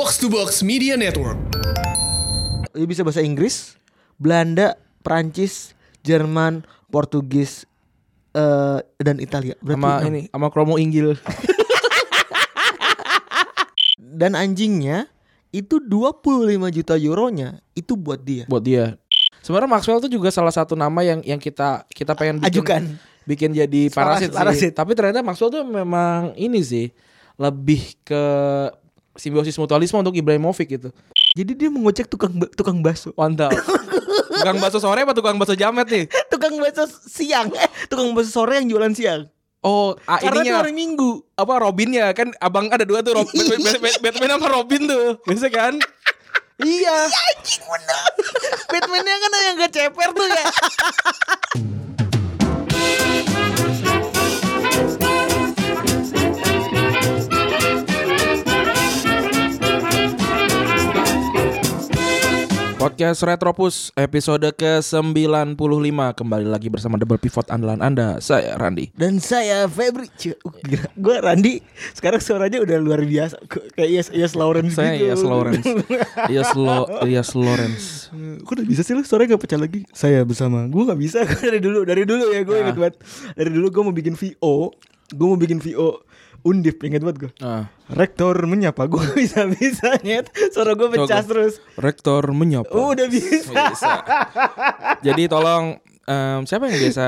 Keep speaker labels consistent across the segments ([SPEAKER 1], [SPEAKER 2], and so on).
[SPEAKER 1] Box to Box Media Network.
[SPEAKER 2] Dia Ya, bisa bahasa Inggris, Belanda, Perancis, Jerman, Portugis, eh, dan Italia. Berarti
[SPEAKER 3] sama
[SPEAKER 2] enam.
[SPEAKER 3] ini sama kromo inggil
[SPEAKER 2] Dan anjingnya itu 25 juta euronya itu buat dia.
[SPEAKER 3] buat dia. Sebenarnya Maxwell tuh juga salah satu nama yang yang kita kita pengen bikin,
[SPEAKER 2] Ajukan.
[SPEAKER 3] bikin jadi
[SPEAKER 2] Parasit,
[SPEAKER 3] parasit,
[SPEAKER 2] parasit.
[SPEAKER 3] sih. Tapi ternyata Maxwell tuh memang ini sih lebih ke simbiosis mutualisme untuk Ibrahimovic gitu.
[SPEAKER 2] Jadi dia mengocek tukang ba- tukang bakso.
[SPEAKER 3] Mantap. tukang bakso sore apa tukang bakso jamet nih?
[SPEAKER 2] Tukang bakso siang, eh tukang bakso sore yang jualan siang.
[SPEAKER 3] Oh, ah,
[SPEAKER 2] Karena itu
[SPEAKER 3] ininya
[SPEAKER 2] hari Minggu. Iya.
[SPEAKER 3] apa Robinnya kan abang ada dua tuh Rob- Bat- Bat- Bat- Batman sama Robin tuh. Biasa kan? iya.
[SPEAKER 2] Anjing bener. Batman-nya kan yang gak ceper tuh ya.
[SPEAKER 3] Podcast Retropus episode ke-95 kembali lagi bersama Double Pivot andalan Anda. Saya Randi.
[SPEAKER 2] Dan saya Febri. Cie, uh, gila. Gue Randi. Sekarang suaranya udah luar biasa. Gua Kayak Yes, yes Lawrence
[SPEAKER 3] Saya
[SPEAKER 2] gitu.
[SPEAKER 3] Yas Lawrence. Yas Lo Yas Lawrence.
[SPEAKER 2] Eh, Kok udah bisa sih lu suaranya gak pecah lagi? Saya bersama. Gue gak bisa. Gua dari dulu. Dari dulu ya gue inget banget. Dari dulu gue mau bikin VO. Gue mau bikin VO. Undip inget banget gue.
[SPEAKER 3] Nah,
[SPEAKER 2] Rektor menyapa gue bisa-bisa nyet. Suara gue pecah
[SPEAKER 3] Coba.
[SPEAKER 2] terus.
[SPEAKER 3] rektor menyapa.
[SPEAKER 2] Oh, udah bisa.
[SPEAKER 3] Bisa. Jadi tolong em, siapa yang biasa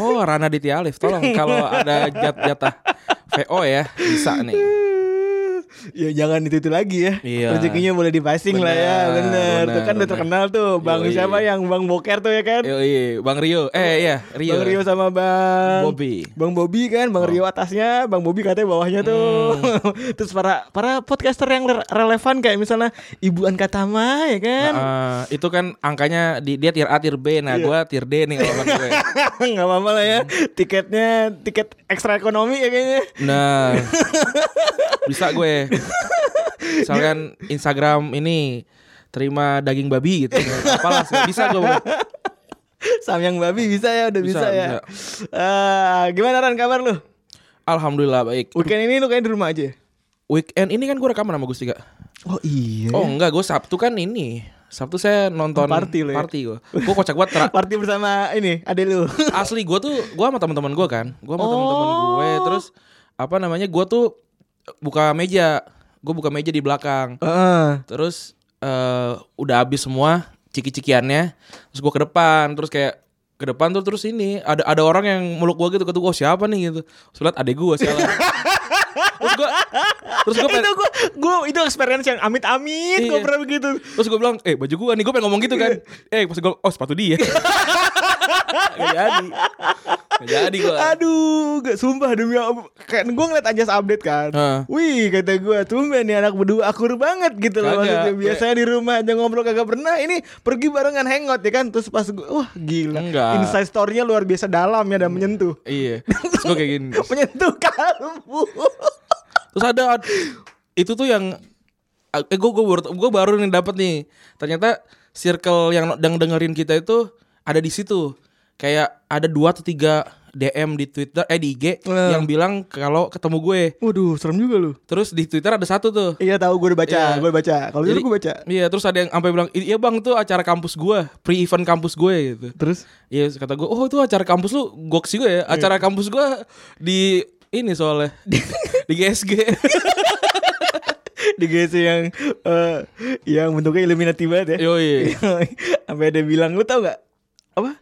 [SPEAKER 3] Oh, Rana Ditya Alif. Tolong kalau ada jat jatah VO ya, bisa nih.
[SPEAKER 2] ya jangan itu itu lagi ya.
[SPEAKER 3] Iya.
[SPEAKER 2] Rezekinya boleh dipasing lah ya.
[SPEAKER 3] Benar,
[SPEAKER 2] Bener. Tuh kan
[SPEAKER 3] benar,
[SPEAKER 2] udah
[SPEAKER 3] benar.
[SPEAKER 2] terkenal tuh Bang
[SPEAKER 3] Yoi.
[SPEAKER 2] siapa yang Bang Boker tuh ya kan?
[SPEAKER 3] Yoi, Bang Rio. Eh, iya,
[SPEAKER 2] Bang
[SPEAKER 3] Rio.
[SPEAKER 2] Rio sama Bang
[SPEAKER 3] Bobby. Oh.
[SPEAKER 2] Bang Bobby kan, Bang Rio atasnya, Bang Bobby katanya bawahnya tuh.
[SPEAKER 3] Hmm.
[SPEAKER 2] Terus para para podcaster yang re- relevan kayak misalnya Ibu Anka Tama ya kan.
[SPEAKER 3] Nah, eh, itu kan angkanya di, dia tier A tier
[SPEAKER 2] Iya.
[SPEAKER 3] B nah gua tier D nih kalau ya. menurut gue.
[SPEAKER 2] nggak apa-apa lah ya. Tiketnya tiket ekstra ekonomi ya kayaknya.
[SPEAKER 3] Nah, bisa gue. Misalkan Instagram ini terima daging babi gitu. Apalah nggak bisa gue.
[SPEAKER 2] Samyang babi bisa ya, udah bisa,
[SPEAKER 3] Bisa,
[SPEAKER 2] ya.
[SPEAKER 3] bisa.
[SPEAKER 2] Eh, gimana Ran kabar lu?
[SPEAKER 3] Alhamdulillah baik.
[SPEAKER 2] Weekend ini lu kayak di rumah aja. ya?
[SPEAKER 3] Weekend ini kan gue rekaman sama Gustika.
[SPEAKER 2] Oh iya.
[SPEAKER 3] Oh enggak, gue Sabtu kan ini. Sabtu saya nonton
[SPEAKER 2] Party lo ya?
[SPEAKER 3] gue. Gue kocak banget. Tra-
[SPEAKER 2] Party bersama ini, ade lu.
[SPEAKER 3] asli gue tuh gue sama teman-teman gue kan gue sama teman-teman
[SPEAKER 2] Oh.
[SPEAKER 3] gue terus apa namanya gue tuh buka meja gue buka meja di belakang
[SPEAKER 2] Heeh.
[SPEAKER 3] terus eh, udah habis semua ciki-cikiannya terus gue ke depan terus kayak ke depan tuh terus ini ada ada orang yang meluk gue gitu kata oh siapa nih gitu sebelah adek gue siapa terus gue terus gue
[SPEAKER 2] itu gua, gua itu experience yang amit-amit gua
[SPEAKER 3] Iya.
[SPEAKER 2] pernah begitu.
[SPEAKER 3] Terus gue bilang, eh baju gue nih, gue pengen ngomong gitu kan Eh pas gue, oh sepatu dia Gak jadi Gak jadi gue
[SPEAKER 2] Aduh, gak sumpah demi Allah. Kayak gue ngeliat aja update kan.
[SPEAKER 3] Heeh.
[SPEAKER 2] Wih, kata gue, tumben nih anak berdua akur banget gitu loh.
[SPEAKER 3] Kagak,
[SPEAKER 2] Maksudnya
[SPEAKER 3] gue-
[SPEAKER 2] biasanya di rumah aja ngobrol kagak pernah. Ini pergi barengan hangout ya kan. Terus pas gue, wah gila.
[SPEAKER 3] Enggak.
[SPEAKER 2] Inside story-nya luar biasa dalam ya dan menyentuh.
[SPEAKER 3] Iya Terus gue kayak gini
[SPEAKER 2] menyentuh kalbu.
[SPEAKER 3] Terus ada ad- Itu tuh yang Eh gue, gue, baru, gue baru nih dapet nih Ternyata circle yang, yang dengerin kita itu Ada di situ Kayak ada dua atau tiga DM di Twitter Eh di IG
[SPEAKER 2] Eh.
[SPEAKER 3] Yang bilang kalau ketemu gue
[SPEAKER 2] Waduh, serem juga lu.
[SPEAKER 3] Terus di Twitter ada satu tuh
[SPEAKER 2] Iya tahu gue udah baca,
[SPEAKER 3] Iya.
[SPEAKER 2] gue udah baca. Kalau dulu
[SPEAKER 3] Jadi-
[SPEAKER 2] gue baca.
[SPEAKER 3] Iya terus ada yang sampai bilang Iya bang itu acara kampus gue Pre-event kampus gue gitu
[SPEAKER 2] Terus
[SPEAKER 3] Iya kata gue Oh itu acara kampus lu Goksi
[SPEAKER 2] Iya.
[SPEAKER 3] gue ya Acara kampus gue Di ini soalnya Di GSG
[SPEAKER 2] di GC yang eh, yang bentuknya Illuminati banget ya.
[SPEAKER 3] Yoi
[SPEAKER 2] Sampai ada bilang lu tau gak apa?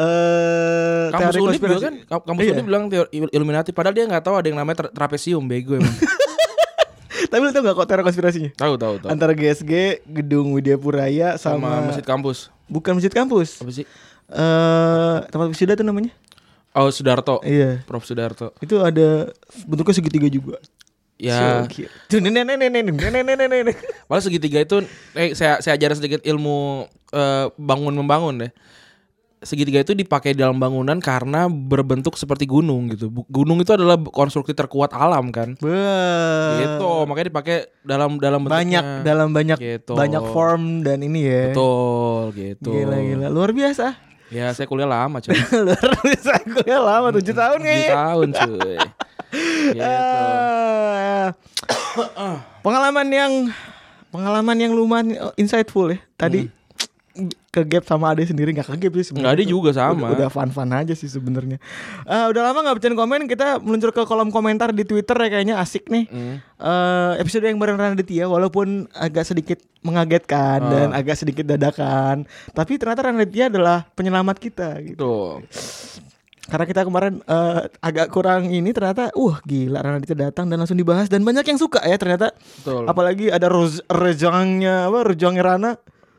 [SPEAKER 2] Eh
[SPEAKER 3] Kampus
[SPEAKER 2] teori
[SPEAKER 3] Unip juga
[SPEAKER 2] konspirasi.
[SPEAKER 3] kan Kamp- Kampus
[SPEAKER 2] Iya.
[SPEAKER 3] Unip bilang teori Illuminati Padahal dia gak tahu ada yang namanya tra- trapesium Bego emang
[SPEAKER 2] Tapi lu tau gak kok teori konspirasinya?
[SPEAKER 3] Tahu tahu tahu
[SPEAKER 2] Antara GSG, Gedung Widya Puraya
[SPEAKER 3] Sama
[SPEAKER 2] sama,
[SPEAKER 3] masjid kampus
[SPEAKER 2] bukan masjid kampus. Eh
[SPEAKER 3] Apa sih
[SPEAKER 2] tempat wisuda tuh namanya.
[SPEAKER 3] Oh Sudarto
[SPEAKER 2] Iya.
[SPEAKER 3] Prof Sudarto
[SPEAKER 2] Itu ada bentuknya segitiga juga. So
[SPEAKER 3] Ya
[SPEAKER 2] cute. Tuh, nenek, nenek, nenek, nenek, nenek, nenek.
[SPEAKER 3] Malah segitiga itu eh, saya saya ajarin sedikit ilmu eh, bangun membangun deh. Segitiga itu dipakai dalam bangunan karena berbentuk seperti gunung gitu. Bu- Gunung itu adalah konstruksi terkuat alam kan.
[SPEAKER 2] Wah.
[SPEAKER 3] gitu, makanya dipakai dalam dalam
[SPEAKER 2] Banyak dalam banyak
[SPEAKER 3] Gitu.
[SPEAKER 2] banyak form dan ini ya.
[SPEAKER 3] Betul gitu.
[SPEAKER 2] Gila gila luar biasa.
[SPEAKER 3] Ya, saya kuliah lama, cuy.
[SPEAKER 2] luar biasa gue lama 7 tahun
[SPEAKER 3] 7
[SPEAKER 2] kayaknya.
[SPEAKER 3] tahun, cuy. gitu.
[SPEAKER 2] Ah. Eh, Pengalaman yang Pengalaman yang lumayan oh, insightful ya. Tadi ke gap sama Ade sendiri nggak ke gap sih sebenarnya.
[SPEAKER 3] Hmm. Nggak, Ade juga sama.
[SPEAKER 2] Udah, udah fun-fun aja sih sebenarnya. Eh, udah lama nggak bacain komen, kita meluncur ke kolom komentar di Twitter ya kayaknya asik nih.
[SPEAKER 3] Hmm.
[SPEAKER 2] Eh, episode yang bareng Ranaditya walaupun agak sedikit mengagetkan
[SPEAKER 3] Ah.
[SPEAKER 2] dan agak sedikit dadakan, tapi ternyata Ranaditya adalah penyelamat kita gitu.
[SPEAKER 3] Tuh.
[SPEAKER 2] Karena kita kemarin eh, agak kurang ini ternyata uh gila Ranadita datang dan langsung dibahas dan banyak yang suka ya ternyata.
[SPEAKER 3] Betul.
[SPEAKER 2] Apalagi ada Roz- Rejangnya apa Rejangnya Rana,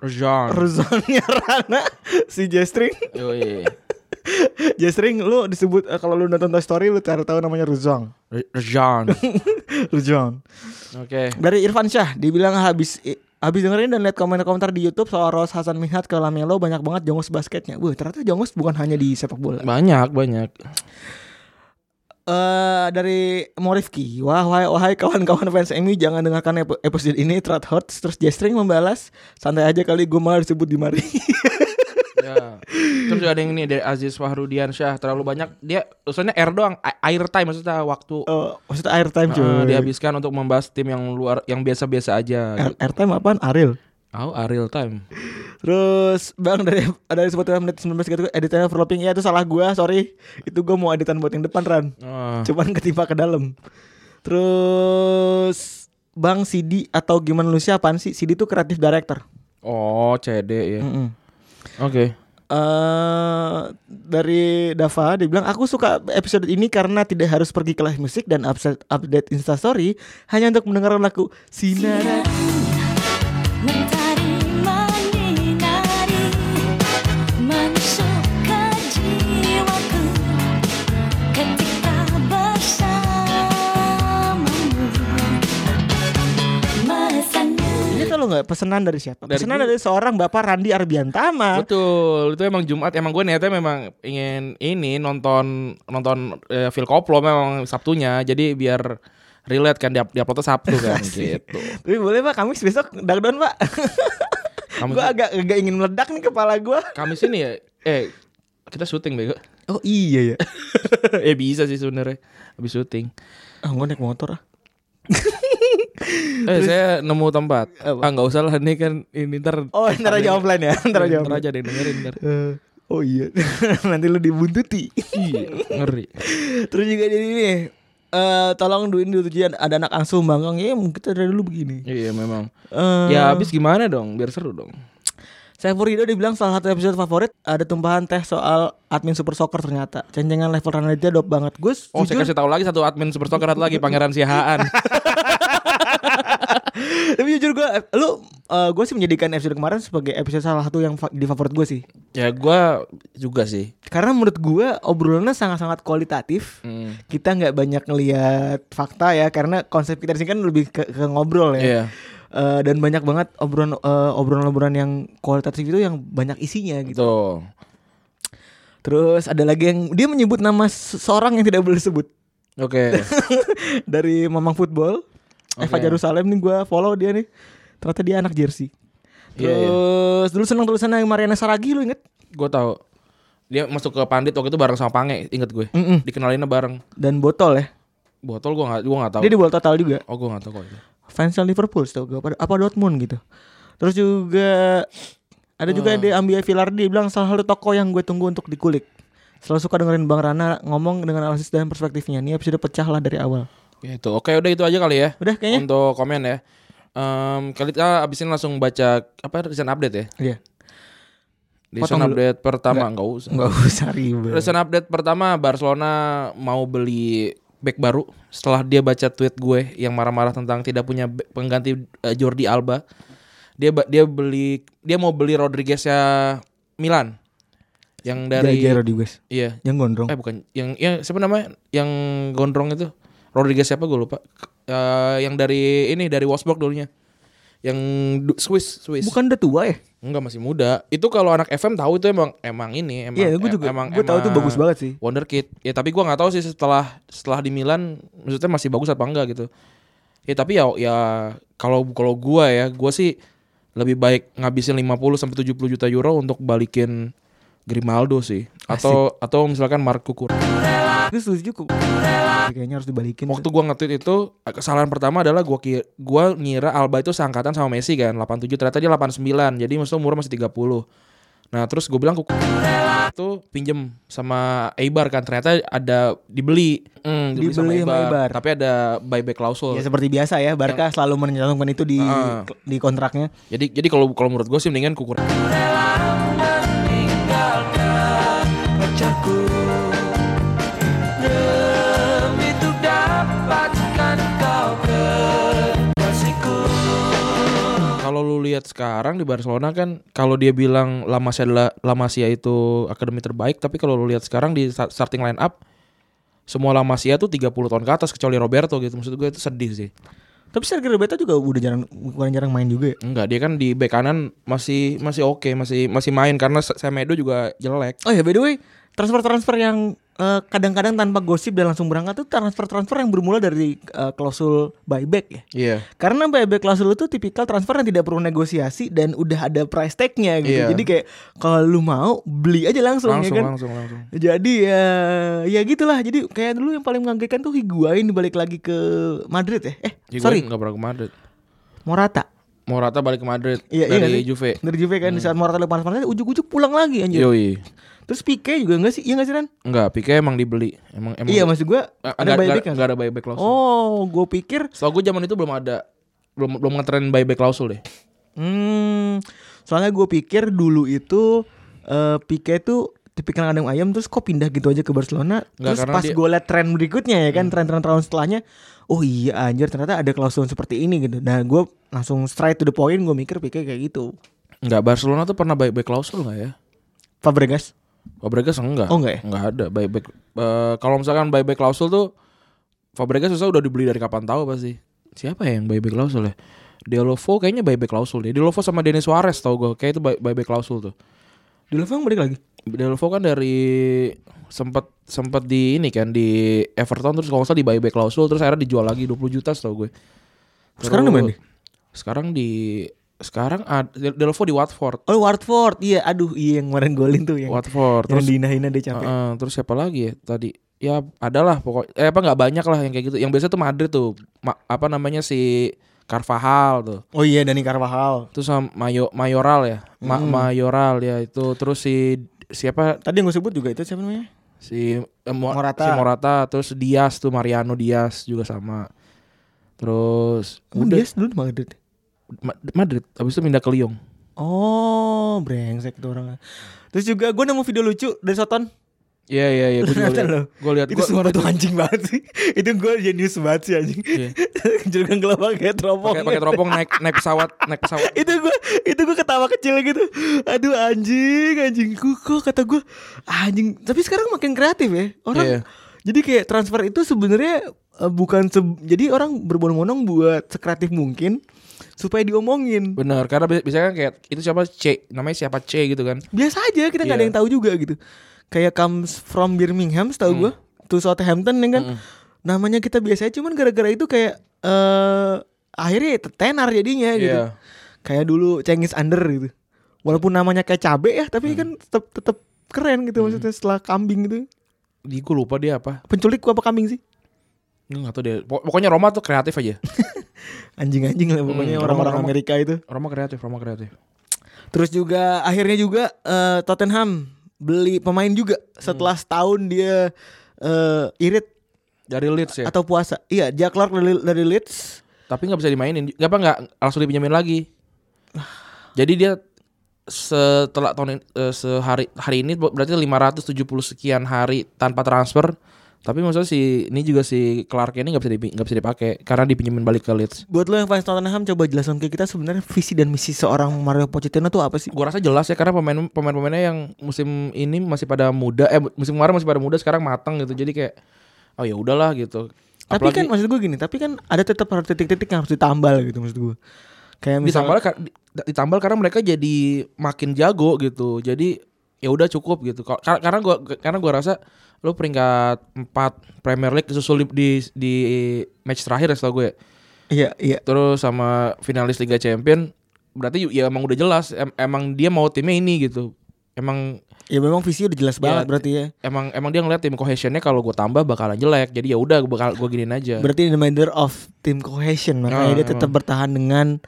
[SPEAKER 3] Rajan.
[SPEAKER 2] Rejangnya Rana si Jestring.
[SPEAKER 3] Yoi.
[SPEAKER 2] Jestring lu disebut eh, kalau lu nonton Toy Story lu cari tahu namanya Rejang.
[SPEAKER 3] Re- Rajan.
[SPEAKER 2] Rejang.
[SPEAKER 3] Oke.
[SPEAKER 2] Dari Irfan Syah dibilang habis i- habis dengerin dan lihat komentar-komentar di YouTube soal Ros Hasan Minhat ke Lamelo banyak banget jongos basketnya. Wah, ternyata jongos bukan hanya di sepak bola.
[SPEAKER 3] Banyak, banyak.
[SPEAKER 2] eh dari Morifki Wah, wahai, wahai kawan-kawan fans MU Jangan dengarkan ep- episode ini Trot Hurts Terus Jestring membalas Santai aja kali gue malah disebut di mari
[SPEAKER 3] ya. Terus juga ada yang ini dari Aziz Wahrudian Syah terlalu banyak dia maksudnya air doang a- air time maksudnya waktu
[SPEAKER 2] Oh, Maksudnya airtime cuy
[SPEAKER 3] eh, dihabiskan untuk membahas tim yang luar yang biasa-biasa aja.
[SPEAKER 2] Air- Airtime apaan? Aril
[SPEAKER 3] Oh, a real time.
[SPEAKER 2] Terus Bang dari Dari sebetulnya menit 19 gitu Editannya overlapping Ya itu salah gue sorry Itu gue mau editan buat yang depan Ran
[SPEAKER 3] Ah,
[SPEAKER 2] Cuman ketimpa ke dalam Terus Bang Sidi atau gimana lu sih apaan sih Sidi tuh kreatif director
[SPEAKER 3] oh, CD ya.
[SPEAKER 2] Mm-mm.
[SPEAKER 3] Oke.
[SPEAKER 2] eh dari Dava dia bilang aku suka episode ini karena tidak harus pergi ke live musik dan upset update instastory hanya untuk mendengar lagu sinar
[SPEAKER 1] 「またりまになり」「まんしょかじわく」「かてかばしゃまむ」「まさに」
[SPEAKER 2] ini kalau nggak pesanan dari siapa
[SPEAKER 3] Dari
[SPEAKER 2] pesanan
[SPEAKER 3] gue.
[SPEAKER 2] dari seorang bapak Randi Arbiantama
[SPEAKER 3] Betul, itu emang Jumat. Emang gue niatnya memang ingin ini nonton nonton eh, Phil Koplo memang Sabtunya. Jadi biar relate kan di uploadnya Sabtu kan gitu.
[SPEAKER 2] tapi boleh pak Kamis besok dagdon pak
[SPEAKER 3] Kamis,
[SPEAKER 2] gue agak agak ingin meledak nih kepala gue
[SPEAKER 3] Kamis ini ya eh kita syuting bego.
[SPEAKER 2] oh iya ya
[SPEAKER 3] eh bisa sih sebenarnya habis syuting.
[SPEAKER 2] ah gue naik motor ah
[SPEAKER 3] Eh saya nemu tempat.
[SPEAKER 2] Apa?
[SPEAKER 3] Ah nggak usah lah ini kan ini ntar
[SPEAKER 2] oh ntar aja offline ya ntar aja
[SPEAKER 3] ntar
[SPEAKER 2] offline
[SPEAKER 3] aja deh dengerin ntar.
[SPEAKER 2] Eh, oh iya nanti lu dibuntuti
[SPEAKER 3] Iya, ngeri.
[SPEAKER 2] Terus juga jadi ini eh tolong duin dulu tujuan ada anak asuh bangkang ya mungkin kita dari dulu begini.
[SPEAKER 3] Iya memang.
[SPEAKER 2] Eh
[SPEAKER 3] Ya habis gimana dong biar seru dong.
[SPEAKER 2] saya Rido dibilang salah satu episode favorit ada tumpahan teh soal admin Super Soccer ternyata. Cencengan level Ranaditya dop banget. Gus,
[SPEAKER 3] Oh, saya
[SPEAKER 2] jujur
[SPEAKER 3] kasih tahu lagi satu admin Super Soccer satu lagi Pangeran Sihaan.
[SPEAKER 2] tapi jujur gue lu eh, gue sih menjadikan episode kemarin sebagai episode salah satu yang fa- di favorit gue sih.
[SPEAKER 3] ya gua juga sih.
[SPEAKER 2] Karena menurut gue obrolannya sangat-sangat kualitatif.
[SPEAKER 3] Hmm.
[SPEAKER 2] Kita nggak banyak ngelihat fakta ya karena konsep kita di sini kan lebih ke, ke ngobrol ya.
[SPEAKER 3] Iya.
[SPEAKER 2] Eh, dan banyak banget obrolan eh, obrolan-obrolan yang kualitatif itu yang banyak isinya gitu.
[SPEAKER 3] Gitu.
[SPEAKER 2] Terus ada lagi yang dia menyebut nama se- seorang yang tidak boleh disebut
[SPEAKER 3] Oke.
[SPEAKER 2] dari Mamang Football. Eva
[SPEAKER 3] Oke.
[SPEAKER 2] Jerusalem nih gua follow dia nih. Ternyata dia anak jersey. Terus
[SPEAKER 3] Iya, iya.
[SPEAKER 2] dulu senang tulisannya yang Mariana Saragi lu inget?
[SPEAKER 3] Gua tahu. Dia masuk ke Pandit waktu itu bareng sama Pange, inget gue.
[SPEAKER 2] Mm-mm.
[SPEAKER 3] Dikenalinnya bareng.
[SPEAKER 2] Dan botol ya.
[SPEAKER 3] Botol gua nggak gua nggak tahu.
[SPEAKER 2] Dia di botol total juga.
[SPEAKER 3] Oh, gua nggak tahu kok itu.
[SPEAKER 2] Fansnya Liverpool tau gue apa, apa Dortmund gitu. Terus juga ada
[SPEAKER 3] Hmm.
[SPEAKER 2] juga di Ambia Villardi bilang salah satu toko yang gue tunggu untuk dikulik. Selalu suka dengerin Bang Rana ngomong dengan analisis dan perspektifnya. Ini episode pecah lah dari awal.
[SPEAKER 3] Ya, itu. Oke, udah itu aja kali ya.
[SPEAKER 2] Udah kayaknya.
[SPEAKER 3] Untuk komen ya. Em kali kita abisin langsung baca apa recent update ya.
[SPEAKER 2] Iya.
[SPEAKER 3] Recent
[SPEAKER 2] Potong dulu.
[SPEAKER 3] update pertama enggak usah.
[SPEAKER 2] Enggak usah ribet.
[SPEAKER 3] Recent update pertama Barcelona mau beli back baru setelah dia baca tweet gue yang marah-marah tentang tidak punya back pengganti eh, Jordi Alba. Dia ba- dia beli dia mau beli Rodriguez ya Milan. Yang dari
[SPEAKER 2] Jaya Rodriguez
[SPEAKER 3] iya.
[SPEAKER 2] yang gondrong.
[SPEAKER 3] Eh bukan yang yang siapa namanya? Yang gondrong itu. Rodriguez siapa gue lupa. Eh, yang dari ini dari Wolfsburg dulunya. Yang du- Swiss, Swiss.
[SPEAKER 2] Bukan udah tua ya?
[SPEAKER 3] Enggak masih muda. Itu kalau anak FM tahu itu emang emang ini emang
[SPEAKER 2] Iya, gue
[SPEAKER 3] em-
[SPEAKER 2] juga.
[SPEAKER 3] emang
[SPEAKER 2] Gue tahu itu
[SPEAKER 3] emang
[SPEAKER 2] bagus banget sih.
[SPEAKER 3] Wonderkid. Ya tapi gua nggak tahu sih setelah setelah di Milan maksudnya masih bagus apa enggak gitu. Ya tapi ya ya kalau kalau gua ya, gua sih lebih baik ngabisin 50 sampai 70 juta euro untuk balikin Grimaldo sih atau atau misalkan Mark Kukur.
[SPEAKER 2] Ini setuju kok. Kayaknya harus dibalikin.
[SPEAKER 3] Waktu gua nge-tweet itu kesalahan pertama adalah gua ki- gua ngira Alba itu seangkatan sama Messi kan, 87 ternyata dia 89. Jadi maksudnya umur masih 30. Nah, terus gue bilang kuku itu pinjem sama Eibar kan ternyata ada dibeli, Hmm,
[SPEAKER 2] Dibeli sama Eibar.
[SPEAKER 3] tapi ada buyback klausul.
[SPEAKER 2] Ya seperti biasa ya, Barca
[SPEAKER 3] Iya.
[SPEAKER 2] selalu mencantumkan itu di
[SPEAKER 3] Ah.
[SPEAKER 2] di kontraknya.
[SPEAKER 3] Jadi jadi kalau kalau menurut gue sih mendingan kuku Kalau lu lihat sekarang di Barcelona kan kalau dia bilang La Masia adalah La Masia itu akademi terbaik tapi kalau lu lihat sekarang di sta- starting line up semua La Masia tuh 30 tahun ke atas kecuali Roberto gitu maksud gue itu sedih sih.
[SPEAKER 2] Tapi Sergio Roberto juga udah jarang bukan jarang main juga ya.
[SPEAKER 3] Enggak, dia kan di bek kanan masih masih oke, masih masih main karena Se- Semedo juga jelek.
[SPEAKER 2] Oh ya by the way, transfer-transfer yang eh, kadang-kadang tanpa gosip dan langsung berangkat tuh transfer-transfer yang bermula dari eh, klausul buyback ya.
[SPEAKER 3] Iya.
[SPEAKER 2] Karena buyback klausul itu tipikal transfer yang tidak perlu negosiasi dan udah ada price tag-nya gitu.
[SPEAKER 3] Iya.
[SPEAKER 2] Jadi kayak kalau lu mau beli aja langsung,
[SPEAKER 3] Langsung
[SPEAKER 2] ya kan.
[SPEAKER 3] langsung langsung.
[SPEAKER 2] Jadi ya ya gitulah. Jadi kayak dulu yang paling mengagetkan tuh Higuain balik lagi ke Madrid ya. Eh,
[SPEAKER 3] Higuain
[SPEAKER 2] sorry,
[SPEAKER 3] nggak pernah ke Madrid.
[SPEAKER 2] Morata.
[SPEAKER 3] Morata balik ke Madrid
[SPEAKER 2] Iya, iya
[SPEAKER 3] dari
[SPEAKER 2] nggak sih? Iya.
[SPEAKER 3] Juve. Hmm. Iya.
[SPEAKER 2] Dari Juve kan di saat Morata lagi panas-panasnya ujuk-ujuk pulang lagi anjir.
[SPEAKER 3] Yoi.
[SPEAKER 2] Terus Pique juga enggak sih? Iya enggak sih Ran?
[SPEAKER 3] Enggak, Pique emang dibeli. Emang emang
[SPEAKER 2] Iya maksud gua
[SPEAKER 3] Eh,
[SPEAKER 2] ada buyback
[SPEAKER 3] nggak- nggak-
[SPEAKER 2] nggak?
[SPEAKER 3] nggak ada buyback klausul.
[SPEAKER 2] Oh, gue pikir
[SPEAKER 3] Setahu gue zaman itu belum ada belum belum ngetren buyback klausul deh.
[SPEAKER 2] hmm soalnya gue pikir dulu itu eh Pique tuh tipikal adem ayam terus kok pindah gitu aja ke Barcelona
[SPEAKER 3] Nggak,
[SPEAKER 2] terus
[SPEAKER 3] karena
[SPEAKER 2] pas
[SPEAKER 3] dia- Hmm.
[SPEAKER 2] gue liat tren berikutnya ya kan tren-tren tahun setelahnya oh iya anjir ternyata ada klausul seperti ini gitu nah gue langsung straight to the point gue mikir Pique kayak gitu
[SPEAKER 3] Enggak, Barcelona tuh pernah buyback klausul enggak ya?
[SPEAKER 2] Fabregas
[SPEAKER 3] Fabregas enggak.
[SPEAKER 2] Oh, enggak ya?
[SPEAKER 3] Enggak ada buyback. Eh, kalau misalkan buyback klausul tuh Fabregas susah udah dibeli dari kapan tahu pasti. Siapa ya yang buyback klausul ya? Delovo kayaknya buyback klausul deh. Delovo sama Denis Suarez tau gue. Kayak itu buy- buyback klausul tuh.
[SPEAKER 2] dulu emang balik lagi
[SPEAKER 3] Delovo kan dari sempat sempat di ini kan di Everton terus kalau nggak salah di buyback klausul terus akhirnya dijual lagi 20 juta tau gue.
[SPEAKER 2] Sekarang di
[SPEAKER 3] Terus-
[SPEAKER 2] mana dia?
[SPEAKER 3] Sekarang di sekarang ad, Delovo di Watford.
[SPEAKER 2] oh Watford iya aduh iya yang kemarin golin tuh yang
[SPEAKER 3] Watford.
[SPEAKER 2] yang
[SPEAKER 3] Terus Ah.
[SPEAKER 2] dihina-hina dia capek
[SPEAKER 3] Heeh, terus siapa lagi ya tadi? Ya adalah pokok eh apa nggak banyak lah yang kayak gitu. Yang biasa tuh Madrid tuh Ma- apa namanya si Carvajal tuh.
[SPEAKER 2] oh iya Dani Carvajal
[SPEAKER 3] Terus sama Mayo Mayoral ya. Ma-
[SPEAKER 2] Hmm.
[SPEAKER 3] Mayoral ya itu terus si siapa
[SPEAKER 2] tadi yang gue sebut juga itu siapa namanya
[SPEAKER 3] si eh, Mo-
[SPEAKER 2] Morata.
[SPEAKER 3] si Morata terus Dias tuh Mariano Dias juga sama. Terus
[SPEAKER 2] Oh,
[SPEAKER 3] udah
[SPEAKER 2] dia dulu di Madrid
[SPEAKER 3] Ma- Madrid habis itu pindah ke Lyon.
[SPEAKER 2] Oh, brengsek tuh orang. Terus juga gue nemu video lucu dari Soton.
[SPEAKER 3] Iya iya iya gue juga
[SPEAKER 2] Nonton
[SPEAKER 3] liat.
[SPEAKER 2] lo?
[SPEAKER 3] Gue liat
[SPEAKER 2] Itu
[SPEAKER 3] gua-
[SPEAKER 2] suara tuh anjing banget sih. itu gue jenius banget sih anjing.
[SPEAKER 3] Iya.
[SPEAKER 2] Juragan kelapa kayak teropong.
[SPEAKER 3] pakai pakai teropong naik naik pesawat naik pesawat.
[SPEAKER 2] itu gue itu gue ketawa kecil gitu. Aduh anjing, anjing kok kata gue anjing. Tapi sekarang makin kreatif ya orang.
[SPEAKER 3] Iya.
[SPEAKER 2] Jadi kayak transfer itu sebenarnya eh, bukan se- jadi orang berbondong-bondong buat sekreatif mungkin supaya diomongin.
[SPEAKER 3] Bener, karena bi- biasanya kan kayak itu siapa C, namanya siapa C gitu kan.
[SPEAKER 2] biasa aja kita nggak ada
[SPEAKER 3] Iya.
[SPEAKER 2] yang tahu juga gitu kayak comes from Birmingham
[SPEAKER 3] Hmm.
[SPEAKER 2] tahu gua to Southampton ya kan namanya kita biasanya cuman gara-gara itu kayak eh akhirnya tenar jadinya gitu
[SPEAKER 3] Iya.
[SPEAKER 2] kayak dulu Cengiz Under gitu walaupun namanya kayak cabe ya
[SPEAKER 3] Hmm.
[SPEAKER 2] tapi kan tetap tetap keren gitu maksudnya setelah kambing gitu
[SPEAKER 3] Di gue lupa dia apa.
[SPEAKER 2] penculik gua apa kambing sih
[SPEAKER 3] Gue gak tau dia. Pok- Pokoknya Roma tuh kreatif aja.
[SPEAKER 2] anjing-anjing lah pokoknya
[SPEAKER 3] Hmm,
[SPEAKER 2] orang-orang
[SPEAKER 3] orang-orang.
[SPEAKER 2] Amerika itu
[SPEAKER 3] Roma kreatif, Roma kreatif.
[SPEAKER 2] Terus juga akhirnya juga eh, Tottenham beli pemain juga
[SPEAKER 3] Hmm.
[SPEAKER 2] setelah setahun dia eh, irit
[SPEAKER 3] Dari Leeds ya.
[SPEAKER 2] atau puasa. Iya, Jack Clark dari, dari Leeds.
[SPEAKER 3] Tapi gak bisa dimainin. Gak apa gak langsung dipinjemin lagi. Jadi dia setelah tahun ini- eh, sehari hari ini berarti 570 sekian hari tanpa transfer. Tapi maksudnya si ini juga si Clark ini gak bisa dipi- nggak bisa dipakai karena dipinjemin balik ke Leeds.
[SPEAKER 2] Buat lo yang fans Tottenham coba jelasin ke kita sebenarnya visi dan misi seorang Mario Pochettino tuh apa sih?
[SPEAKER 3] Gua rasa jelas ya karena pemain pemain pemainnya yang musim ini masih pada muda eh musim kemarin masih pada muda sekarang matang gitu jadi kayak oh ya udahlah gitu
[SPEAKER 2] Tapi kan maksud gue gini, tapi kan ada tetap harus titik-titik yang harus ditambal gitu maksud gue. Kayak
[SPEAKER 3] ditambal
[SPEAKER 2] misalnya
[SPEAKER 3] kar- di- ditambal karena mereka jadi makin jago gitu jadi ya udah cukup gitu Kar- kar- karena gua karena gua rasa lu peringkat 4 Premier League disusul di, di, di match terakhir ya setahu gue
[SPEAKER 2] iya iya.
[SPEAKER 3] terus sama finalis Liga Champion berarti ya emang udah jelas em- emang dia mau timnya ini gitu emang
[SPEAKER 2] Ya memang visi udah jelas banget
[SPEAKER 3] Ya,
[SPEAKER 2] berarti ya.
[SPEAKER 3] emang emang dia ngeliat tim cohesionnya kalau gue tambah bakalan jelek jadi ya udah gue bakal gue giniin aja
[SPEAKER 2] Berarti in the matter of team cohesion makanya
[SPEAKER 3] Ah,
[SPEAKER 2] dia tetap bertahan dengan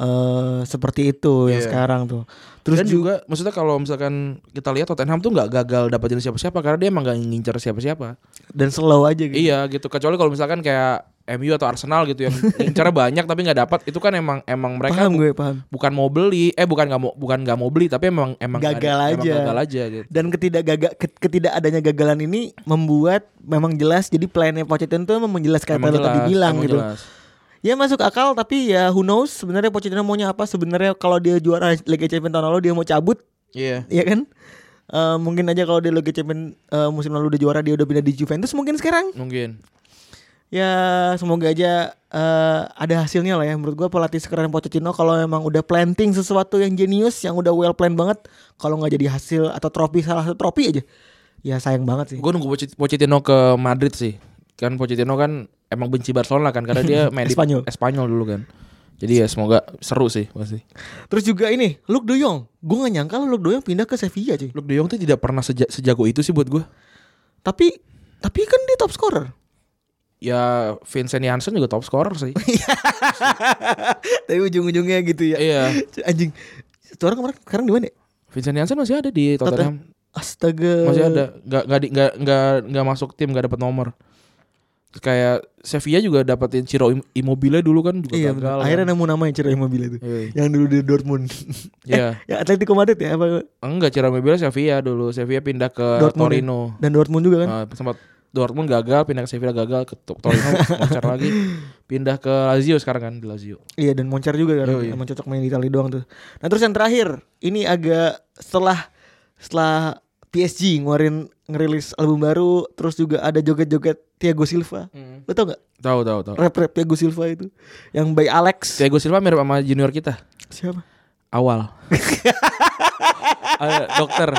[SPEAKER 2] eh seperti itu yang
[SPEAKER 3] Iya.
[SPEAKER 2] sekarang tuh. Terus
[SPEAKER 3] dan
[SPEAKER 2] juga
[SPEAKER 3] juga maksudnya kalau misalkan kita lihat Tottenham tuh nggak gagal dapetin siapa-siapa karena dia emang gak ngincer siapa-siapa.
[SPEAKER 2] dan slow aja gitu.
[SPEAKER 3] Iya gitu. Kecuali kalau misalkan kayak MU atau Arsenal gitu yang ngincer banyak tapi nggak dapat itu kan emang emang mereka
[SPEAKER 2] Paham gue, paham.
[SPEAKER 3] bukan mau beli, eh bukan nggak mau bukan nggak mau beli tapi emang emang nggak
[SPEAKER 2] Gagal
[SPEAKER 3] ada- emang
[SPEAKER 2] aja.
[SPEAKER 3] gagal aja gitu.
[SPEAKER 2] Dan ketidak gaga, ke- ketidak adanya gagalan ini membuat memang jelas jadi plannya Pochettino tuh memang jelas kayak
[SPEAKER 3] Emang
[SPEAKER 2] tadi tadi
[SPEAKER 3] jelas,
[SPEAKER 2] bilang
[SPEAKER 3] emang
[SPEAKER 2] gitu.
[SPEAKER 3] jelas.
[SPEAKER 2] Ya masuk akal tapi ya who knows sebenarnya Pochettino maunya apa sebenarnya kalau dia juara Liga Champions tahun lalu dia mau cabut
[SPEAKER 3] Iya.
[SPEAKER 2] ya kan? Eh, mungkin aja kalau dia Liga Champions eh, musim lalu udah juara dia udah pindah di Juventus mungkin sekarang
[SPEAKER 3] Mungkin.
[SPEAKER 2] ya semoga aja eh, ada hasilnya lah ya menurut gua pelatih sekeren Pochettino kalau emang udah planting sesuatu yang jenius yang udah well planned banget kalau nggak jadi hasil atau trofi salah satu trofi aja ya sayang banget sih
[SPEAKER 3] Gue nunggu Pochett- Pochettino ke Madrid sih. Kan Pochettino kan emang benci Barcelona kan karena dia main di
[SPEAKER 2] Espanyol.
[SPEAKER 3] Espanyol dulu kan. Jadi ya semoga seru sih pasti.
[SPEAKER 2] terus juga ini Luke De Jong gue nggak nyangka lo Luke De Jong pindah ke Sevilla cuy
[SPEAKER 3] Luke De Jong tuh tidak pernah seja- sejago itu sih buat gue.
[SPEAKER 2] tapi tapi kan dia top scorer
[SPEAKER 3] Ya Vincent Janssen juga top scorer sih.
[SPEAKER 2] tapi ujung-ujungnya gitu ya
[SPEAKER 3] iya.
[SPEAKER 2] anjing itu orang kemarin sekarang di mana ya?
[SPEAKER 3] Vincent Janssen masih ada di Tottenham.
[SPEAKER 2] astaga
[SPEAKER 3] Masih ada. Gak nggak di- nggak nggak nggak masuk tim nggak dapat nomor. Terus Kayak Sevilla juga dapetin Ciro Im- Immobile dulu kan juga
[SPEAKER 2] iya
[SPEAKER 3] gagal.
[SPEAKER 2] benar.
[SPEAKER 3] kan.
[SPEAKER 2] akhirnya nemu nama yang cerai mobil itu
[SPEAKER 3] Iya.
[SPEAKER 2] yang dulu di Dortmund
[SPEAKER 3] Iya.
[SPEAKER 2] ya Atletico Madrid ya apa
[SPEAKER 3] Enggak Ciro Immobile Sevilla dulu. Sevilla pindah ke
[SPEAKER 2] Dortmund ya.
[SPEAKER 3] Torino.
[SPEAKER 2] dan Dortmund juga kan
[SPEAKER 3] Eh, sempat Dortmund gagal pindah ke Sevilla gagal ke To- Torino moncer lagi pindah ke Lazio sekarang kan di Lazio
[SPEAKER 2] Iya dan Moncer juga kan
[SPEAKER 3] Yoi.
[SPEAKER 2] emang cocok main di Itali doang tuh. Nah terus yang terakhir ini agak setelah setelah PSG ngeluarin ngerilis album baru terus juga ada joget-joget Thiago Silva.
[SPEAKER 3] Hmm.
[SPEAKER 2] Lo tau gak
[SPEAKER 3] tahu tahu tahu
[SPEAKER 2] rap rap Thiago Silva itu yang by Alex
[SPEAKER 3] Thiago Silva mirip sama junior kita
[SPEAKER 2] siapa?
[SPEAKER 3] awal Eh, dokter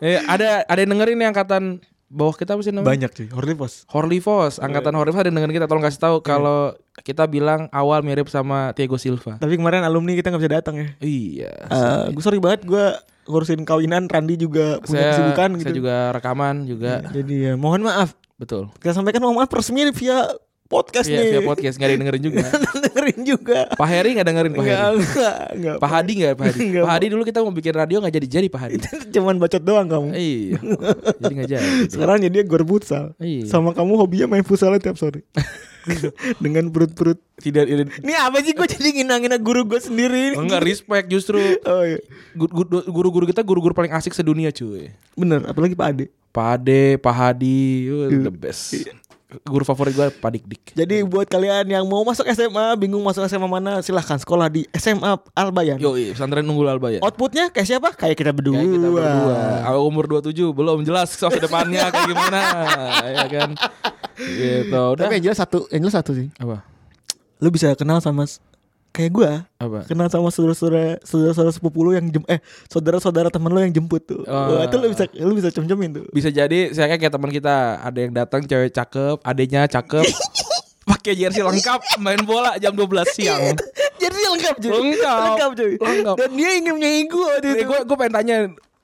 [SPEAKER 3] Eh, ada ada yang dengerin nih angkatan bawah kita apa sih namanya
[SPEAKER 2] Banyak sih Horlivos.
[SPEAKER 3] Horly Foss
[SPEAKER 2] Iya.
[SPEAKER 3] angkatan Horly Foss ada yang dengerin kita tolong kasih tahu kalau kita bilang awal mirip sama Thiago Silva
[SPEAKER 2] Tapi kemarin alumni kita nggak bisa datang ya.
[SPEAKER 3] iya
[SPEAKER 2] Eh gue sorry banget gue ngurusin kawinan Randi juga punya
[SPEAKER 3] saya,
[SPEAKER 2] kesibukan
[SPEAKER 3] saya
[SPEAKER 2] gitu.
[SPEAKER 3] juga rekaman juga
[SPEAKER 2] Jadi ya mohon maaf
[SPEAKER 3] betul
[SPEAKER 2] kita sampaikan mohon maaf resmi via podcast
[SPEAKER 3] iya
[SPEAKER 2] nih.
[SPEAKER 3] via podcast nggak ada yang dengerin juga
[SPEAKER 2] dengerin juga.
[SPEAKER 3] Pak Heri nggak dengerin Pak Heri
[SPEAKER 2] Enggak, enggak, enggak.
[SPEAKER 3] Pak Hadi nggak Pak Hadi?
[SPEAKER 2] Nggak,
[SPEAKER 3] Pak Hadi dulu kita mau bikin radio nggak jadi jadi Pak Hadi.
[SPEAKER 2] kan Cuman bacot doang kamu.
[SPEAKER 3] iya. Jadi nggak jadi.
[SPEAKER 2] Sekarang jadi gor futsal.
[SPEAKER 3] Iya.
[SPEAKER 2] Sama kamu hobinya main futsal tiap sore. Dengan perut-perut.
[SPEAKER 3] Tidak.
[SPEAKER 2] Ini apa sih gue jadi ngina-ngina guru gue sendiri?
[SPEAKER 3] Enggak respect justru
[SPEAKER 2] Oh iya.
[SPEAKER 3] Gu- gu- guru-guru kita guru-guru paling asik sedunia cuy.
[SPEAKER 2] Bener, apalagi Pak Ade.
[SPEAKER 3] Pak Ade, Pak Hadi, uh, the best.
[SPEAKER 2] Iya.
[SPEAKER 3] Guru favorit gue Pak Dik Dik.
[SPEAKER 2] Jadi buat kalian yang mau masuk SMA, bingung masuk SMA mana, silahkan sekolah di SMA Albayan.
[SPEAKER 3] Yo, pesantren nunggul alba ya.
[SPEAKER 2] Outputnya kayak siapa? Kayak kita berdua.
[SPEAKER 3] Ya, kita berdua. Aku umur 27 belum jelas masa depannya kayak gimana. ya kan. Gitu. Udah.
[SPEAKER 2] Tapi yang jelas satu, yang jelas satu sih.
[SPEAKER 3] Apa?
[SPEAKER 2] Lu bisa kenal sama s- kayak gua
[SPEAKER 3] Apa?
[SPEAKER 2] kenal sama saudara-saudara saudara-saudara sepupu lu yang jem, eh saudara-saudara temen lu yang jemput tuh.
[SPEAKER 3] Ah.
[SPEAKER 2] Wah, itu lu bisa lu bisa cem-cemin tuh.
[SPEAKER 3] bisa jadi saya kayak teman kita ada yang datang cewek cakep adenya cakep pakai jersey lengkap main bola jam 12 siang
[SPEAKER 2] Jadi lengkap cuy.
[SPEAKER 3] Oh. Lengkap.
[SPEAKER 2] Lengkap cuy.
[SPEAKER 3] Lengkap.
[SPEAKER 2] Dan dia ingin menyayangi gua waktu itu.
[SPEAKER 3] gue gue pengen tanya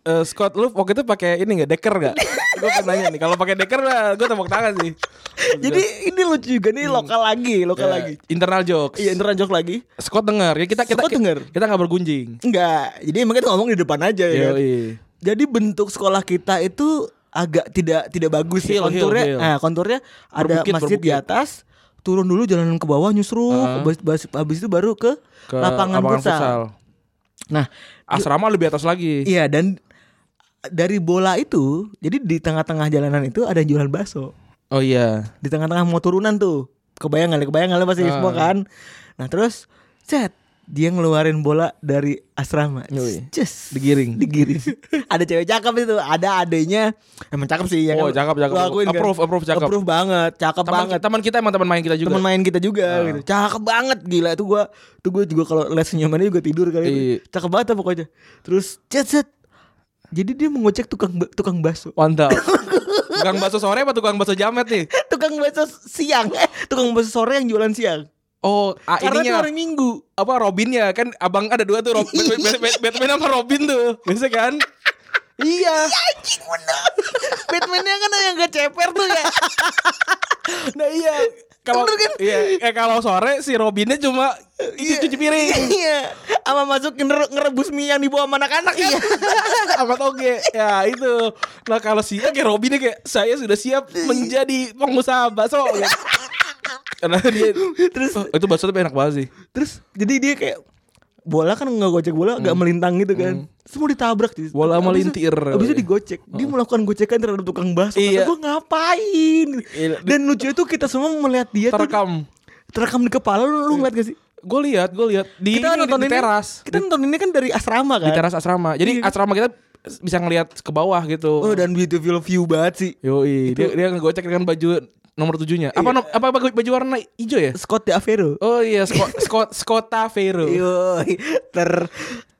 [SPEAKER 3] eh, Scott lu waktu itu pakai ini nggak deker nggak gue pengen tanya nih kalau pakai deker gue tepuk tangan sih
[SPEAKER 2] Jadi ini lucu juga nih lokal lagi, lokal
[SPEAKER 3] Hmm.
[SPEAKER 2] lagi.
[SPEAKER 3] Ya, internal jokes
[SPEAKER 2] Iya, interan jok lagi.
[SPEAKER 3] Scott denger ya kita kita
[SPEAKER 2] Scott denger.
[SPEAKER 3] kita nggak bergunjing
[SPEAKER 2] Enggak, jadi emang kita ngomong di depan aja ya. kan?
[SPEAKER 3] Yoi.
[SPEAKER 2] Jadi bentuk sekolah kita itu agak tidak tidak bagus sih
[SPEAKER 3] Hill, hill,
[SPEAKER 2] konturnya.
[SPEAKER 3] hill.
[SPEAKER 2] Nah, konturnya ada
[SPEAKER 3] Berbukit,
[SPEAKER 2] masjid di
[SPEAKER 3] berbukit.
[SPEAKER 2] atas, turun dulu jalanan ke bawah nyusruk,
[SPEAKER 3] Ah.
[SPEAKER 2] habis, habis- habis itu baru ke,
[SPEAKER 3] ke
[SPEAKER 2] lapangan, futsal. Nah,
[SPEAKER 3] asrama lebih atas lagi
[SPEAKER 2] iya dan dari bola itu, jadi di tengah-tengah jalanan itu ada yang jualan bakso.
[SPEAKER 3] oh iya
[SPEAKER 2] Di tengah-tengah mau turunan tuh. Kebayang kali, kebayang kali
[SPEAKER 3] Ah.
[SPEAKER 2] pasti semua kan. Nah, terus set dia ngeluarin bola dari asrama.
[SPEAKER 3] Yoi.
[SPEAKER 2] Just
[SPEAKER 3] digiring
[SPEAKER 2] digiring. ada cewek cakep itu, ada adenya emang cakep sih ya
[SPEAKER 3] Oh,
[SPEAKER 2] kan?
[SPEAKER 3] cakep, cakep.
[SPEAKER 2] Gua akuin kan.
[SPEAKER 3] Approve, approve, cakep.
[SPEAKER 2] Approve banget, cakep
[SPEAKER 3] teman
[SPEAKER 2] banget.
[SPEAKER 3] teman kita emang teman main kita juga Ah.
[SPEAKER 2] Temen main kita juga gitu. Cakep banget gila itu gua itu gua juga kalau les senyumannya juga tidur kali itu.
[SPEAKER 3] Iya.
[SPEAKER 2] Cakep banget lah pokoknya. Terus cet cet. Jadi dia mengocek tukang ba- tukang bakso.
[SPEAKER 3] Mantap. tukang bakso sore apa tukang bakso jamet nih?
[SPEAKER 2] Eh, Tukang bakso siang, eh tukang bakso sore yang jualan siang.
[SPEAKER 3] Oh, ah,
[SPEAKER 2] Karena itu
[SPEAKER 3] ininya
[SPEAKER 2] hari Minggu.
[SPEAKER 3] ya? apa Robinnya kan abang ada dua tuh Rob, Bat- Bat- Bat- Batman sama Robin tuh. Biasa kan? Iya.
[SPEAKER 2] Batman-nya kan yang gak ceper tuh ya.
[SPEAKER 3] Nah iya. Kalau
[SPEAKER 2] Bener kan?
[SPEAKER 3] iya, eh, kalau sore si Robinnya cuma itu cuci piring.
[SPEAKER 2] iya. Sama masuk nger- ngerebus mie yang dibawa sama anak-anak iya.
[SPEAKER 3] Amat oke. Ya itu. Nah kalau si kayak Robinnya kayak saya sudah siap menjadi pengusaha bakso. Gitu. Karena dia
[SPEAKER 2] Terus
[SPEAKER 3] Oh, itu bakso tapi enak banget sih.
[SPEAKER 2] terus jadi dia kayak bola kan nggak gocek bola nggak melintang gitu kan. Semua ditabrak di
[SPEAKER 3] Hmm.
[SPEAKER 2] Abis
[SPEAKER 3] Bola
[SPEAKER 2] itu-
[SPEAKER 3] melintir.
[SPEAKER 2] Abis itu digocek. Dia melakukan gocekan terhadap tukang bakso.
[SPEAKER 3] Iya.
[SPEAKER 2] Kata gue ngapain?
[SPEAKER 3] Iya.
[SPEAKER 2] Dan lucu itu kita semua melihat dia Iya, tuh
[SPEAKER 3] Terekam.
[SPEAKER 2] terekam di kepala lu, lu ngeliat gak sih?
[SPEAKER 3] Gue lihat, gue lihat Iya, di,
[SPEAKER 2] Kita
[SPEAKER 3] ini,
[SPEAKER 2] nonton
[SPEAKER 3] di
[SPEAKER 2] ini,
[SPEAKER 3] teras.
[SPEAKER 2] Kita nonton ini kan dari asrama
[SPEAKER 3] di
[SPEAKER 2] kan.
[SPEAKER 3] teras asrama. Jadi asrama kita bisa ngelihat ke bawah gitu.
[SPEAKER 2] Oh dan beautiful view banget sih.
[SPEAKER 3] Yoi, dia dia ngegocek dengan baju nomor tujuhnya.
[SPEAKER 2] Iya.
[SPEAKER 3] Apa nom- apa apa baju warna hijau ya?
[SPEAKER 2] Scott de Avero.
[SPEAKER 3] Oh iya, Scott Scott Scotta Vero.
[SPEAKER 2] Iya. Yoi, ter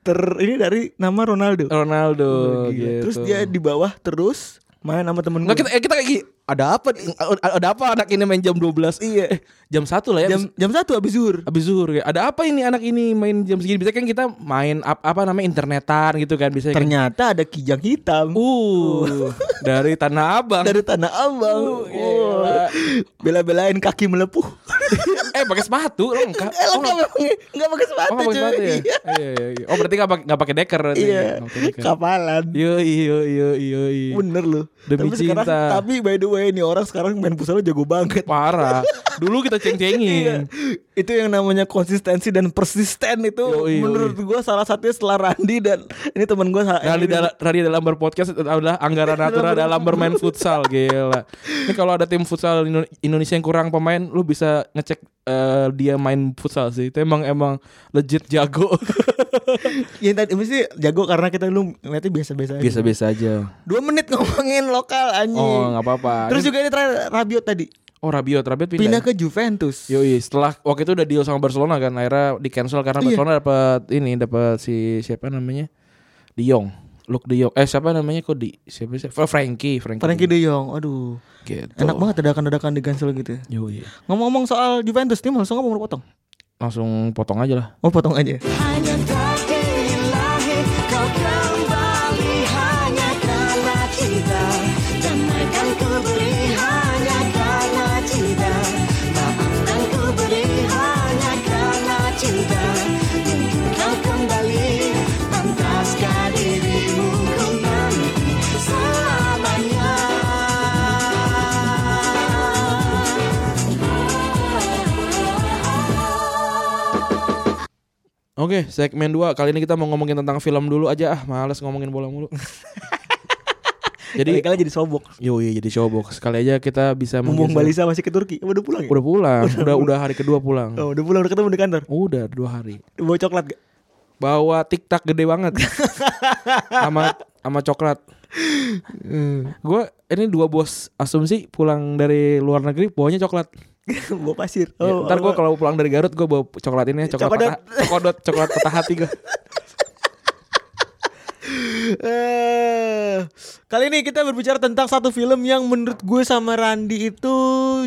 [SPEAKER 2] ter ini dari nama Ronaldo.
[SPEAKER 3] Ronaldo
[SPEAKER 2] Oh, Gila.
[SPEAKER 3] gitu.
[SPEAKER 2] Terus dia di bawah terus main sama temen gue.
[SPEAKER 3] Nggak, kita eh, kita kayak gini, ada apa nih? A- ada apa anak ini main jam 12?
[SPEAKER 2] Iya.
[SPEAKER 3] Eh, jam 1 lah ya.
[SPEAKER 2] jam jam satu habis zuhur.
[SPEAKER 3] Abis zuhur ya. Ada apa ini anak ini main jam segini? Bisa kan kita main ap- apa namanya internetan gitu kan bisa. kan.
[SPEAKER 2] Ternyata ada kijang hitam
[SPEAKER 3] Uh, dari Tanah Abang.
[SPEAKER 2] dari tanah abang. Oh.
[SPEAKER 3] Uh, gila.
[SPEAKER 2] Bela-belain kaki melepuh.
[SPEAKER 3] eh pakai sepatu lengkap.
[SPEAKER 2] Eh lo nggak pakai nggak pakai sepatu
[SPEAKER 3] Oh, nggak
[SPEAKER 2] cuy.
[SPEAKER 3] pakai sepatu ya?
[SPEAKER 2] Iya.
[SPEAKER 3] Iya, iya, iya. Oh, berarti nggak pakai nggak pakai deker berarti. ya?
[SPEAKER 2] Iya.
[SPEAKER 3] Nggak pakai deker.
[SPEAKER 2] Kapalan.
[SPEAKER 3] Yoi, yoi, yoi, yoi.
[SPEAKER 2] Bener lu.
[SPEAKER 3] Iya. Demi
[SPEAKER 2] tapi sekarang
[SPEAKER 3] cinta.
[SPEAKER 2] tapi by the way nih orang sekarang main futsal jago banget.
[SPEAKER 3] Parah. Dulu kita ceng-cengin.
[SPEAKER 2] Iya. itu yang namanya konsistensi dan persisten itu
[SPEAKER 3] Yoi, yoi.
[SPEAKER 2] menurut gua salah satunya setelah Randi dan ini temen gue
[SPEAKER 3] Rani dalam, Rani dalam berpodcast adalah anggaran natura dalam bermain futsal gila. Ini kalau ada tim futsal Indo- Indonesia yang kurang pemain, lu bisa ngecek eh, dia main futsal sih. Itu emang emang legit jago.
[SPEAKER 2] yang tadi mesti jago karena kita dulu ngeliatnya biasa-biasa aja.
[SPEAKER 3] Biasa-biasa aja.
[SPEAKER 2] Dua menit ngomongin lokal anjing.
[SPEAKER 3] Oh nggak apa-apa.
[SPEAKER 2] Iya. Terus
[SPEAKER 3] Ini-
[SPEAKER 2] juga ini terakhir Rabiot tadi
[SPEAKER 3] oh Rabiot, Rabiot
[SPEAKER 2] pindah
[SPEAKER 3] pindah.
[SPEAKER 2] ke Juventus.
[SPEAKER 3] Yoi, setelah waktu itu udah deal sama Barcelona kan, akhirnya di cancel karena
[SPEAKER 2] Iya.
[SPEAKER 3] Barcelona dapat ini dapat si siapa namanya? De Jong. Luke De Jong. Eh siapa namanya kok di siapa sih? Oh, Frankie, Frankie.
[SPEAKER 2] Frankie De Jong, aduh.
[SPEAKER 3] Gitu.
[SPEAKER 2] Enak banget dadakan-dadakan di cancel gitu.
[SPEAKER 3] Yoi.
[SPEAKER 2] Ngomong-ngomong soal Juventus nih langsung ngomong potong.
[SPEAKER 3] Langsung potong aja lah.
[SPEAKER 2] Mau potong aja.
[SPEAKER 1] Hanya tak ilahi kau kembali hanya karena cinta Jangan ku beri hanya karena cinta Maafkan ku beri hanya karena cinta Mungkin kau kembali pantaskah dirimu ku nanti selamanya Oh, oh,
[SPEAKER 3] Oke, segmen 2. Kali ini kita mau ngomongin tentang film dulu aja. Ah, males ngomongin bola mulu.
[SPEAKER 2] Jadi
[SPEAKER 3] jadi,
[SPEAKER 2] kalian jadi sobok.
[SPEAKER 3] yoi, jadi showbox. Sekali aja kita bisa
[SPEAKER 2] Mumpung
[SPEAKER 3] menggeser-
[SPEAKER 2] Balisa masih ke Turki. Apa Udah pulang ya?
[SPEAKER 3] Udah pulang. Udah udah hari kedua pulang.
[SPEAKER 2] Oh, udah pulang udah ketemu di kantor.
[SPEAKER 3] Udah dua hari.
[SPEAKER 2] Bawa coklat gak?
[SPEAKER 3] Bawa tiktak gede banget. Sama sama coklat. Hmm. Gue ini dua bos asumsi pulang dari luar negeri bawanya coklat.
[SPEAKER 2] bawa pasir.
[SPEAKER 3] Ya,
[SPEAKER 2] Oh,
[SPEAKER 3] ntar gue
[SPEAKER 2] apa?
[SPEAKER 3] kalau pulang dari Garut gue bawa coklat ini coklat
[SPEAKER 2] Cokodot.
[SPEAKER 3] patah, cokodot, coklat patah hati gue.
[SPEAKER 2] Eh, kali ini kita berbicara tentang satu film yang menurut gue sama Randi itu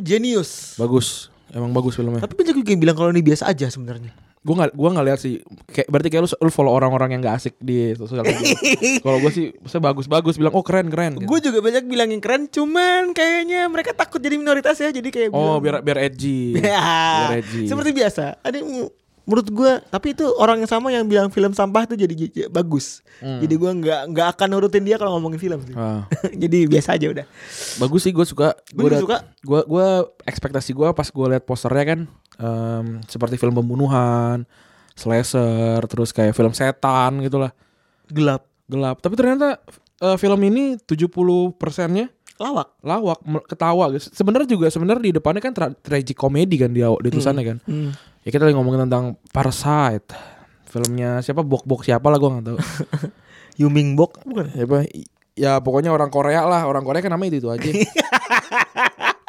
[SPEAKER 2] jenius.
[SPEAKER 3] Bagus, emang bagus filmnya.
[SPEAKER 2] Tapi banyak juga yang bilang kalau ini biasa aja sebenarnya.
[SPEAKER 3] gue nggak gue nggak lihat sih kayak berarti kayak lu, lu follow orang-orang yang nggak asik di sosial media kalau gue sih saya bagus-bagus bilang oh keren keren gitu.
[SPEAKER 2] Gue juga banyak bilang yang keren, cuman kayaknya mereka takut jadi minoritas ya, jadi kayak
[SPEAKER 3] oh
[SPEAKER 2] bilang-
[SPEAKER 3] biar biar edgy
[SPEAKER 2] Ya,
[SPEAKER 3] biar edgy
[SPEAKER 2] seperti biasa. Ada yang- menurut gue, tapi itu orang yang sama yang bilang film sampah tuh jadi j- bagus. Jadi gue nggak nggak akan nurutin dia kalau ngomongin film. sih.
[SPEAKER 3] Hmm. Ah.
[SPEAKER 2] jadi biasa aja udah.
[SPEAKER 3] bagus sih gue suka
[SPEAKER 2] Gua juga suka.
[SPEAKER 3] gue gue ekspektasi gue pas gue lihat posternya kan em, seperti film pembunuhan slasher terus kayak film setan gitulah
[SPEAKER 2] Gelap,
[SPEAKER 3] gelap tapi ternyata eh, film ini 70 persennya
[SPEAKER 2] lawak.
[SPEAKER 3] lawak me- ketawa guys sebenarnya juga sebenarnya di depannya kan tra- tragic comedy kan di aw- di tulisannya kan ya kita lagi ngomongin tentang Parasite filmnya siapa bok bok siapa lah gue nggak tahu
[SPEAKER 2] Yuming Bok bukan?
[SPEAKER 3] siapa ya pokoknya orang Korea lah orang Korea kan namanya itu itu aja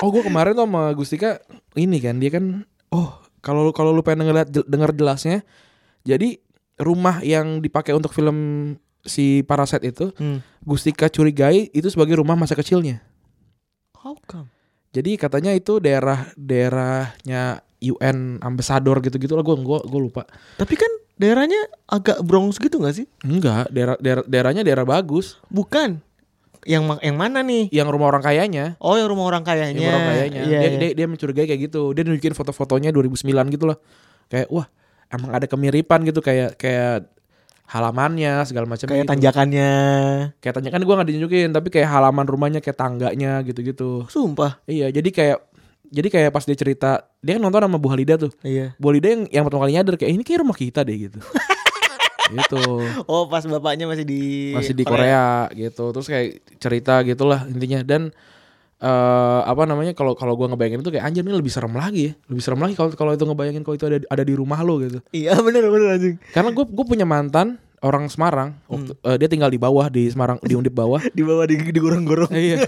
[SPEAKER 3] oh gue kemarin tuh sama Gustika ini kan dia kan oh kalau lu- kalau lu pengen ngeliat jel- denger jelasnya jadi rumah yang dipakai untuk film si Parasite itu
[SPEAKER 2] Hmm.
[SPEAKER 3] Gustika curigai itu sebagai rumah masa kecilnya
[SPEAKER 2] How come?
[SPEAKER 3] Jadi katanya itu daerah daerahnya UN ambassador gitu-gitu lah gue gua gua lupa.
[SPEAKER 2] Tapi kan daerahnya agak Bronx gitu nggak sih?
[SPEAKER 3] Enggak, daerah, daerah daerahnya daerah bagus.
[SPEAKER 2] Bukan. Yang ma- yang mana nih?
[SPEAKER 3] Yang rumah orang kayanya.
[SPEAKER 2] Oh, yang rumah orang
[SPEAKER 3] Yang
[SPEAKER 2] kayanya.
[SPEAKER 3] rumah orang kayanya.
[SPEAKER 2] Iya,
[SPEAKER 3] dia,
[SPEAKER 2] iya.
[SPEAKER 3] dia, dia mencurigai kayak gitu. Dia nunjukin foto-fotonya 2009 gitu loh. Kayak wah, emang ada kemiripan gitu kayak kayak halamannya segala macam
[SPEAKER 2] kayak
[SPEAKER 3] gitu.
[SPEAKER 2] tanjakannya.
[SPEAKER 3] kayak tanya kan gue nggak ditunjukin tapi kayak halaman rumahnya kayak tangganya gitu-gitu
[SPEAKER 2] Sumpah.
[SPEAKER 3] iya jadi kayak jadi kayak pas dia cerita dia kan nonton sama Bu Halida tuh
[SPEAKER 2] Iya.
[SPEAKER 3] Bu Halida yang yang pertama kali nyadar kayak "Eh, ini kayak rumah kita deh gitu gitu
[SPEAKER 2] Oh, pas bapaknya masih di
[SPEAKER 3] masih di Korea gitu terus kayak cerita gitulah intinya dan eh apa namanya kalau kalau gue ngebayangin itu kayak anjir ini lebih serem lagi ya lebih serem lagi kalau kalau itu ngebayangin kalau itu ada ada di rumah lo gitu
[SPEAKER 2] Iya, bener bener anjing.
[SPEAKER 3] karena gue gue punya mantan orang Semarang waktu, eh, dia tinggal di bawah di Semarang di undip bawah
[SPEAKER 2] Di bawah di digorong-gorong.
[SPEAKER 3] Iya.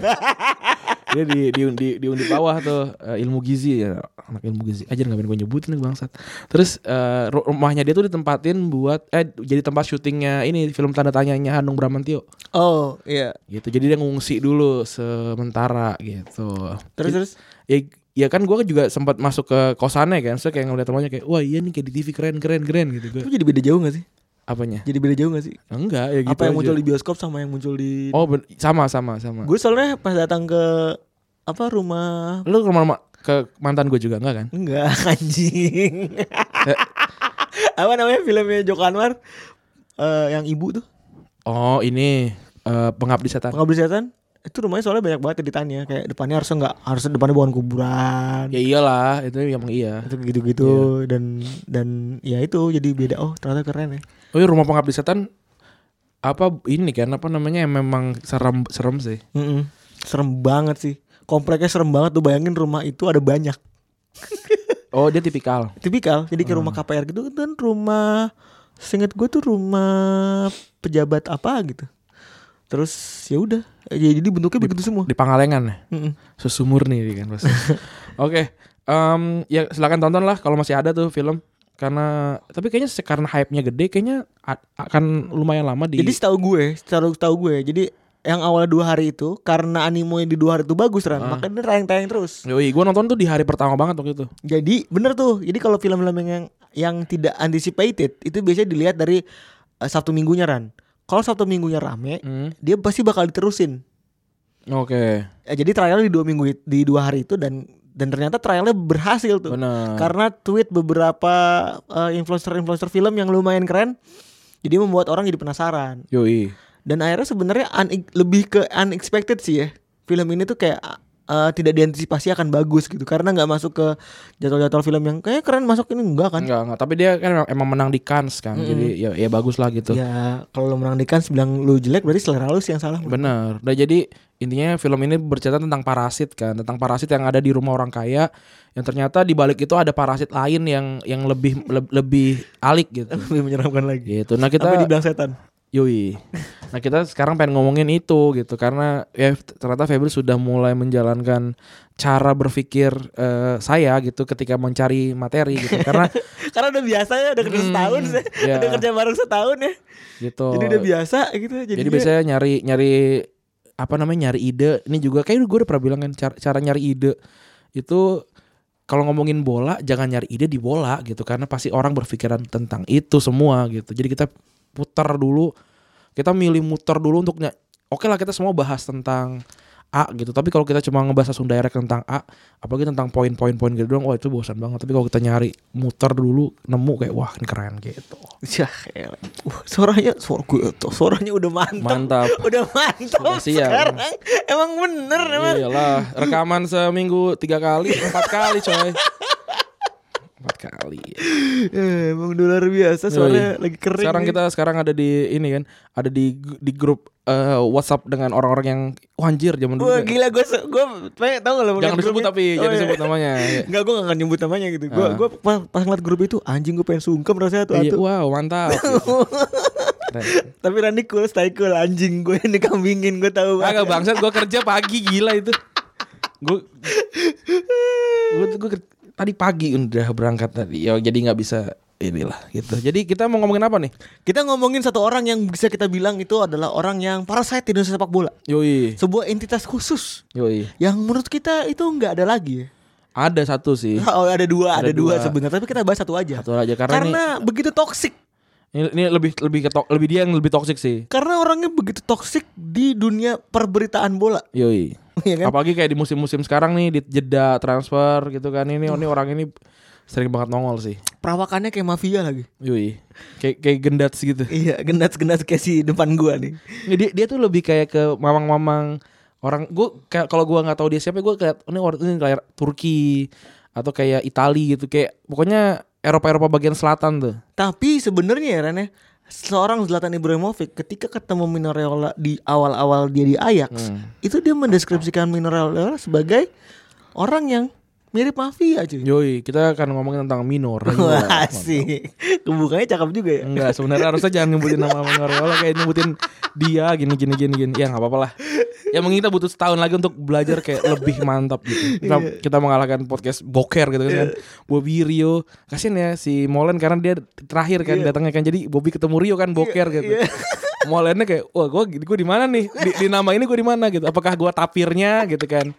[SPEAKER 3] Dia di di di, di undip bawah tuh eh, ilmu gizi ya anak ilmu gizi aja nggak gue nyebutin nih bangsat. Terus eh, ru- rumahnya dia tuh ditempatin buat eh jadi tempat syutingnya ini film tanda tanyanya Hanung Bramantio
[SPEAKER 2] Oh, iya.
[SPEAKER 3] gitu. Jadi dia ngungsi dulu sementara gitu.
[SPEAKER 2] Terus terus
[SPEAKER 3] Ya ya kan gue juga sempat masuk ke kosannya kan, saya kayak ngeliat rumahnya kayak wah iya nih kayak di TV keren keren keren gitu gue.
[SPEAKER 2] itu jadi beda jauh gak sih?
[SPEAKER 3] Apanya?
[SPEAKER 2] Jadi beda jauh gak sih?
[SPEAKER 3] Enggak ya gitu.
[SPEAKER 2] Apa yang
[SPEAKER 3] aja.
[SPEAKER 2] muncul di bioskop sama yang muncul di
[SPEAKER 3] Oh ben- sama sama sama.
[SPEAKER 2] Gue soalnya pas datang ke apa rumah
[SPEAKER 3] Lu ke rumah ke mantan gue juga enggak kan?
[SPEAKER 2] enggak anjing. apa namanya filmnya Joko Anwar Eh, yang ibu tuh
[SPEAKER 3] Oh ini eh, pengabdi setan.
[SPEAKER 2] pengabdi setan itu rumahnya soalnya banyak banget editannya kayak depannya harusnya nggak harusnya depannya bukan kuburan
[SPEAKER 3] Ya iyalah itu emang iya.
[SPEAKER 2] itu gitu-gitu dan dan ya itu jadi beda oh ternyata keren ya
[SPEAKER 3] Oh iya, rumah pengabdi setan apa ini kan apa namanya yang memang serem serem sih.
[SPEAKER 2] Mm-mm. serem banget sih kompleknya serem banget tuh bayangin rumah itu ada banyak
[SPEAKER 3] Oh dia tipikal.
[SPEAKER 2] tipikal jadi kayak rumah KPR gitu dan rumah seinget gue tuh rumah pejabat apa gitu terus ya udah ya, jadi bentuknya begitu semua
[SPEAKER 3] Di Pangalengan ya.
[SPEAKER 2] Mm-mm.
[SPEAKER 3] Susu murni dia kan pasti. Oke. em, ya silakan tonton lah kalau masih ada tuh film karena tapi kayaknya se- karena hype-nya gede kayaknya a- akan lumayan lama di
[SPEAKER 2] Jadi setahu gue, setahu tahu gue, jadi yang awalnya dua hari itu karena animonya di dua hari itu bagus kan, makanya dia tayang-tayang terus.
[SPEAKER 3] Yoi, gue nonton tuh di hari pertama banget waktu itu.
[SPEAKER 2] Jadi bener tuh, jadi kalau film-film yang yang tidak anticipated itu biasanya dilihat dari eh, Sabtu Minggunya Ran. Kalau Sabtu Minggunya rame,
[SPEAKER 3] Hmm.
[SPEAKER 2] dia pasti bakal diterusin.
[SPEAKER 3] Oke,
[SPEAKER 2] Ya, jadi trialnya di dua minggu it- di dua hari itu dan dan ternyata trialnya berhasil tuh. Kan
[SPEAKER 3] benar.
[SPEAKER 2] Karena tweet beberapa eh, influencer-influencer film yang lumayan keren, jadi membuat orang jadi penasaran.
[SPEAKER 3] Yoi.
[SPEAKER 2] dan akhirnya sebenarnya unex- lebih ke unexpected sih ya film ini tuh kayak uh, tidak diantisipasi akan bagus gitu karena nggak masuk ke jadwal-jadwal film yang kayak keren masuk ini enggak kan
[SPEAKER 3] Enggak, enggak, tapi dia kan emang- emang menang di Cannes kan. Jadi ya ya bagus lah gitu.
[SPEAKER 2] ya kalau lu menang di Cannes bilang lu jelek berarti selera lu sih yang salah
[SPEAKER 3] Bener. Nah jadi intinya film ini bercerita tentang parasit kan, tentang parasit yang ada di rumah orang kaya, yang ternyata di balik itu ada parasit lain yang yang lebih le- lebih alik gitu.
[SPEAKER 2] lebih menyeramkan lagi
[SPEAKER 3] Gitu. Nah
[SPEAKER 2] sampai
[SPEAKER 3] kita,
[SPEAKER 2] dibilang setan
[SPEAKER 3] yoi. Nah kita sekarang pengen ngomongin itu gitu karena ya ternyata Febri sudah mulai menjalankan cara berpikir eh, saya gitu ketika mencari materi gitu karena
[SPEAKER 2] karena udah biasa ya udah kerja setahun ya.
[SPEAKER 3] ya.
[SPEAKER 2] udah kerja bareng setahun ya
[SPEAKER 3] gitu.
[SPEAKER 2] jadi udah biasa gitu jadi,
[SPEAKER 3] Jadi
[SPEAKER 2] dia-
[SPEAKER 3] biasanya nyari nyari apa namanya nyari ide. Ini juga kayak gue udah pernah bilang kan cara, cara nyari ide itu kalau ngomongin bola jangan nyari ide di bola gitu karena pasti orang berpikiran tentang itu semua gitu. Jadi kita putar dulu, kita milih muter dulu untuk ny- oke lah kita semua bahas tentang A gitu. Tapi kalau kita cuma ngebahas langsung direct tentang A, apalagi tentang poin-poin-poin gitu doang, wah itu bosan banget. Tapi kalau kita nyari muter dulu, nemu kayak wah ini keren gitu.
[SPEAKER 2] Yah, elah. Wah, ya, uh, suaranya suara gue tuh, suaranya udah mantap.
[SPEAKER 3] Mantap.
[SPEAKER 2] Udah mantap
[SPEAKER 3] Sudah siap.
[SPEAKER 2] sekarang. Emang bener emang.
[SPEAKER 3] Iya, Iyalah, rekaman seminggu tiga kali, empat kali coy. Empat kali.
[SPEAKER 2] Eh, Emang udah luar biasa suaranya lagi kering.
[SPEAKER 3] Sekarang
[SPEAKER 2] nih.
[SPEAKER 3] kita sekarang ada di ini kan, ada di di grup eh, WhatsApp dengan orang-orang yang wah anjir zaman dulu.
[SPEAKER 2] Wah
[SPEAKER 3] ya. kayak-
[SPEAKER 2] gila gue gue pengen tau gak lo
[SPEAKER 3] jangan disebut tapi
[SPEAKER 2] Oh,
[SPEAKER 3] jangan disebut namanya. Iya.
[SPEAKER 2] Enggak gue gak akan nyebut namanya gitu Gue
[SPEAKER 3] Ah.
[SPEAKER 2] gua pas, pas ngeliat grup itu Anjing gue pengen sungkem rasanya tuh
[SPEAKER 3] Iya,
[SPEAKER 2] gitu, atuh
[SPEAKER 3] wow, mantap. Gitu. Keren.
[SPEAKER 2] Tapi Randy cool stay cool Anjing gue yang dikambingin Gue tau
[SPEAKER 3] Agak
[SPEAKER 2] banget
[SPEAKER 3] bangsat gue kerja pagi gila itu. Gue gue gue ker- tadi pagi udah berangkat tadi. Ya jadi nggak bisa inilah gitu. Jadi kita mau ngomongin apa nih?
[SPEAKER 2] Kita ngomongin satu orang yang bisa kita bilang Itu adalah orang yang parasite di dunia sepak bola
[SPEAKER 3] Yoi.
[SPEAKER 2] Sebuah entitas khusus
[SPEAKER 3] Yoi.
[SPEAKER 2] Yang menurut kita itu nggak ada lagi ya
[SPEAKER 3] Ada satu sih.
[SPEAKER 2] Oh ada dua Ada,
[SPEAKER 3] Iya. Ada
[SPEAKER 2] dua,
[SPEAKER 3] dua.
[SPEAKER 2] sebenarnya Tapi kita bahas satu aja
[SPEAKER 3] Satu aja karena,
[SPEAKER 2] Karena begitu toksik
[SPEAKER 3] Ini, ini lebih lebih ketok, lebih dia yang lebih toksik sih.
[SPEAKER 2] Karena orangnya begitu toksik di dunia perberitaan bola.
[SPEAKER 3] Yoi.
[SPEAKER 2] Iya kan?
[SPEAKER 3] Apalagi kayak di musim-musim sekarang nih di jeda transfer gitu kan. Ini ini orang ini sering banget nongol sih.
[SPEAKER 2] Perawakannya kayak mafia lagi.
[SPEAKER 3] Yoi. Kayak kayak gendat gitu.
[SPEAKER 2] Iya, gendas-gendas kayak si depan gua nih.
[SPEAKER 3] Nggak, dia dia tuh lebih kayak ke mamang-mamang orang gue kayak kalau gua nggak tahu dia siapa gue kayak ini orang ini kayak Turki atau kayak Itali gitu kayak pokoknya Eropa Eropa bagian selatan tuh
[SPEAKER 2] Tapi sebenarnya ya Ren ya, seorang Zlatan Ibrahimovic ketika ketemu Minoreola di awal-awal dia di Ajax, itu dia mendeskripsikan Minoreola sebagai orang yang mirip mafia cuy.
[SPEAKER 3] Yoi kita akan ngomongin tentang minor
[SPEAKER 2] Wah, asik. Kebukanya cakep juga ya.
[SPEAKER 3] Enggak sebenarnya harusnya jangan nyebutin nama Mangoriola kayak nyebutin dia gini gini gini gini. Ya nggak apa-apa lah. Yang mungkin kita butuh setahun lagi untuk belajar kayak lebih mantap gitu. Kita,
[SPEAKER 2] Iya.
[SPEAKER 3] kita mengalahkan podcast Boker gitu kan. Bobby Rio, kasian ya si Molen karena dia
[SPEAKER 2] Iya.
[SPEAKER 3] terakhir kan datangnya kan. Jadi Bobby ketemu Rio kan Boker gitu. Molennya kayak, wah gue gue di mana nih? Di, di nama ini gue di mana gitu? Apakah gue tapirnya gitu kan?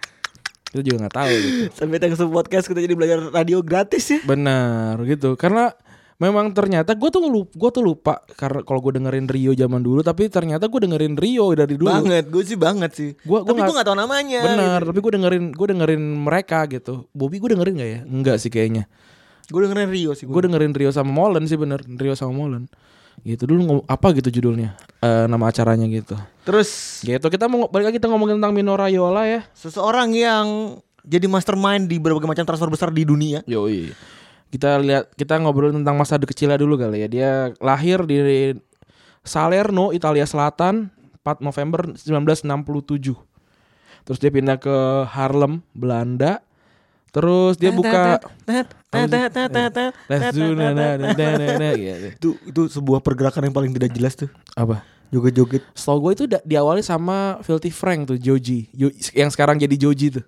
[SPEAKER 3] Kita juga nggak tahu. Gitu.
[SPEAKER 2] Sampai tayang sebuah podcast kita jadi belajar radio gratis ya.
[SPEAKER 3] Benar gitu. Karena memang ternyata gue tuh lupa, gua tuh lupa karena kalau gue dengerin Rio zaman dulu tapi ternyata gue dengerin Rio dari dulu.
[SPEAKER 2] Banget, gue sih banget sih.
[SPEAKER 3] Gua- gua
[SPEAKER 2] Tapi gue
[SPEAKER 3] nggak-
[SPEAKER 2] gak tau namanya. gitu.
[SPEAKER 3] Benar, tapi gue dengerin gue dengerin mereka gitu. Bobby gue dengerin gak ya? Enggak sih kayaknya.
[SPEAKER 2] Gue dengerin Rio sih.
[SPEAKER 3] Gue dengerin Rio sama Molen sih bener Rio sama Molen. Gitu dulu ngom- apa gitu judulnya? Eh, nama acaranya gitu.
[SPEAKER 2] Terus
[SPEAKER 3] Gitu kita mau balik lagi kita ngomongin tentang Mino Raiola ya.
[SPEAKER 2] seseorang yang jadi mastermind di berbagai macam transfer besar di dunia.
[SPEAKER 3] Yoi. Kita lihat kita ngobrol tentang masa de kecilnya dulu kali ya. Dia lahir di Salerno, Italia Selatan, 4 November 1967. Terus dia pindah ke Harlem, Belanda. Terus dia buka
[SPEAKER 2] gitu.
[SPEAKER 3] gitu.
[SPEAKER 2] Itu itu sebuah pergerakan yang paling tidak jelas tuh.
[SPEAKER 3] apa?
[SPEAKER 2] Joget-joget.
[SPEAKER 3] Setahu gue itu da- diawali sama Filthy Frank tuh Joji, Jo- yang sekarang jadi Joji tuh.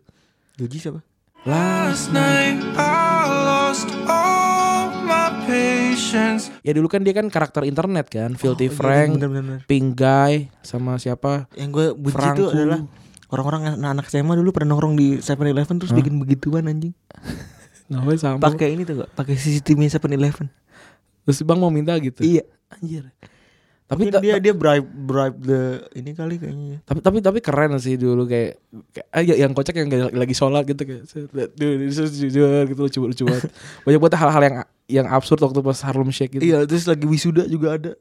[SPEAKER 2] Joji siapa?
[SPEAKER 3] Last
[SPEAKER 4] night I lost all my patience.
[SPEAKER 3] ya dulu kan dia kan karakter internet kan,
[SPEAKER 2] Oh,
[SPEAKER 3] Filthy
[SPEAKER 2] iya,
[SPEAKER 3] Frank,
[SPEAKER 2] bener, bener, bener.
[SPEAKER 3] Pink Guy sama siapa?
[SPEAKER 2] Yang gue benci tuh
[SPEAKER 3] Franco.
[SPEAKER 2] adalah orang-orang anak-anak SMA dulu pernah nongkrong di 7-Eleven terus bikin begituan anjing.
[SPEAKER 3] Ngapain sama?
[SPEAKER 2] Pakai ini tuh, Kak, pakai CCTV 7-Eleven.
[SPEAKER 3] Terus bang mau minta gitu.
[SPEAKER 2] Iya.
[SPEAKER 3] Anjir.
[SPEAKER 2] Tapi
[SPEAKER 3] Tapi ta-
[SPEAKER 2] dia
[SPEAKER 3] ta-
[SPEAKER 2] dia bribe bribe the ini kali kayaknya.
[SPEAKER 3] tapi tapi tapi keren sih dulu kayak, kayak ah, ya- yang kocak yang lagi, lagi sholat gitu kayak set, dude, this is jujur gitu lucu lucu banget. Banyak banget hal-hal yang yang absurd waktu pas Harlem Shake gitu.
[SPEAKER 2] Iya, terus lagi wisuda juga ada.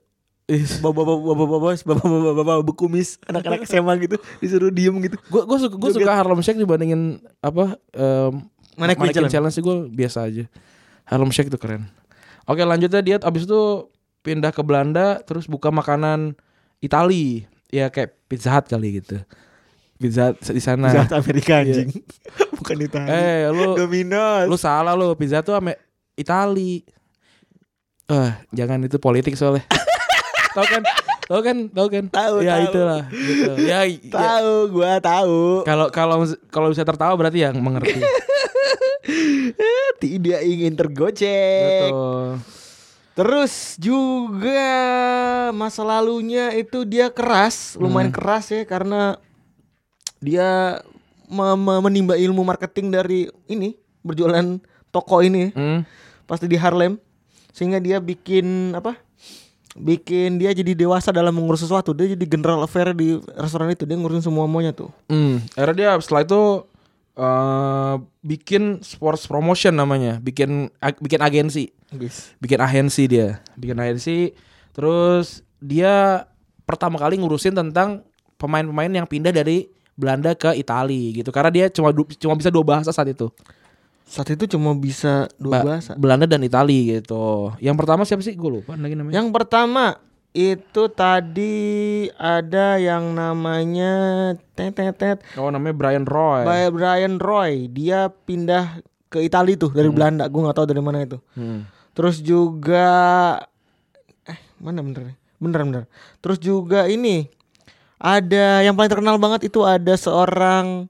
[SPEAKER 3] Iya.
[SPEAKER 2] Bapak-bapak bapak-bapak bapak-bapak bapak bekumis anak-anak SMA gitu disuruh diem gitu.
[SPEAKER 3] Gue gue suka gue suka Harlem Shake dibandingin apa em,
[SPEAKER 2] Mannequin
[SPEAKER 3] Mannequin
[SPEAKER 2] Challenge.
[SPEAKER 3] Challenge sih gue biasa aja. Harlem Shake tuh keren. Oke lanjutnya dia abis itu pindah ke Belanda terus buka makanan Itali ya kayak Pizza Hut kali gitu. Pizza Hut di sana.
[SPEAKER 2] Jahat Amerika anjing. Bukan Italia.
[SPEAKER 3] Eh lu
[SPEAKER 2] Domino's.
[SPEAKER 3] lu salah lu pizza tuh ame Itali. Eh jangan itu politik soalnya. tau kan? Tau kan? Tau kan?
[SPEAKER 2] Tahu,
[SPEAKER 3] Ya
[SPEAKER 2] tahu.
[SPEAKER 3] itulah. Gitu. Ya i- ya.
[SPEAKER 2] tahu, gua tahu.
[SPEAKER 3] kalau kalau kalau bisa tertawa berarti yang mengerti.
[SPEAKER 2] Tidak ingin tergocek.
[SPEAKER 3] Betul.
[SPEAKER 2] Terus juga masa lalunya itu dia keras, lumayan keras ya karena dia me- me- menimba ilmu marketing dari ini berjualan toko ini. ya.
[SPEAKER 3] Hmm.
[SPEAKER 2] pasti di Harlem sehingga dia bikin apa bikin dia jadi dewasa dalam mengurus sesuatu dia jadi general affair di restoran itu dia ngurusin semua semuanya tuh
[SPEAKER 3] Hmm. Akhirnya dia setelah itu eh bikin sports promotion namanya, bikin ag- bikin agensi.
[SPEAKER 2] guys
[SPEAKER 3] bikin agensi dia bikin agensi terus dia pertama kali ngurusin tentang pemain-pemain yang pindah dari Belanda ke Itali gitu karena dia cuma du- cuma bisa dua bahasa saat itu
[SPEAKER 2] saat itu cuma bisa dua
[SPEAKER 3] Ba-
[SPEAKER 2] bahasa
[SPEAKER 3] Belanda dan Itali gitu yang pertama siapa sih gue lupa lagi namanya
[SPEAKER 2] yang pertama itu tadi ada yang namanya tet tet tet
[SPEAKER 3] oh namanya Brian Roy
[SPEAKER 2] by Brian Roy dia pindah ke Italia tuh dari Belanda gue nggak tahu dari mana itu
[SPEAKER 3] Hmm.
[SPEAKER 2] Terus juga eh mana bener nih? Bener bener. Terus juga ini ada yang paling terkenal banget itu ada seorang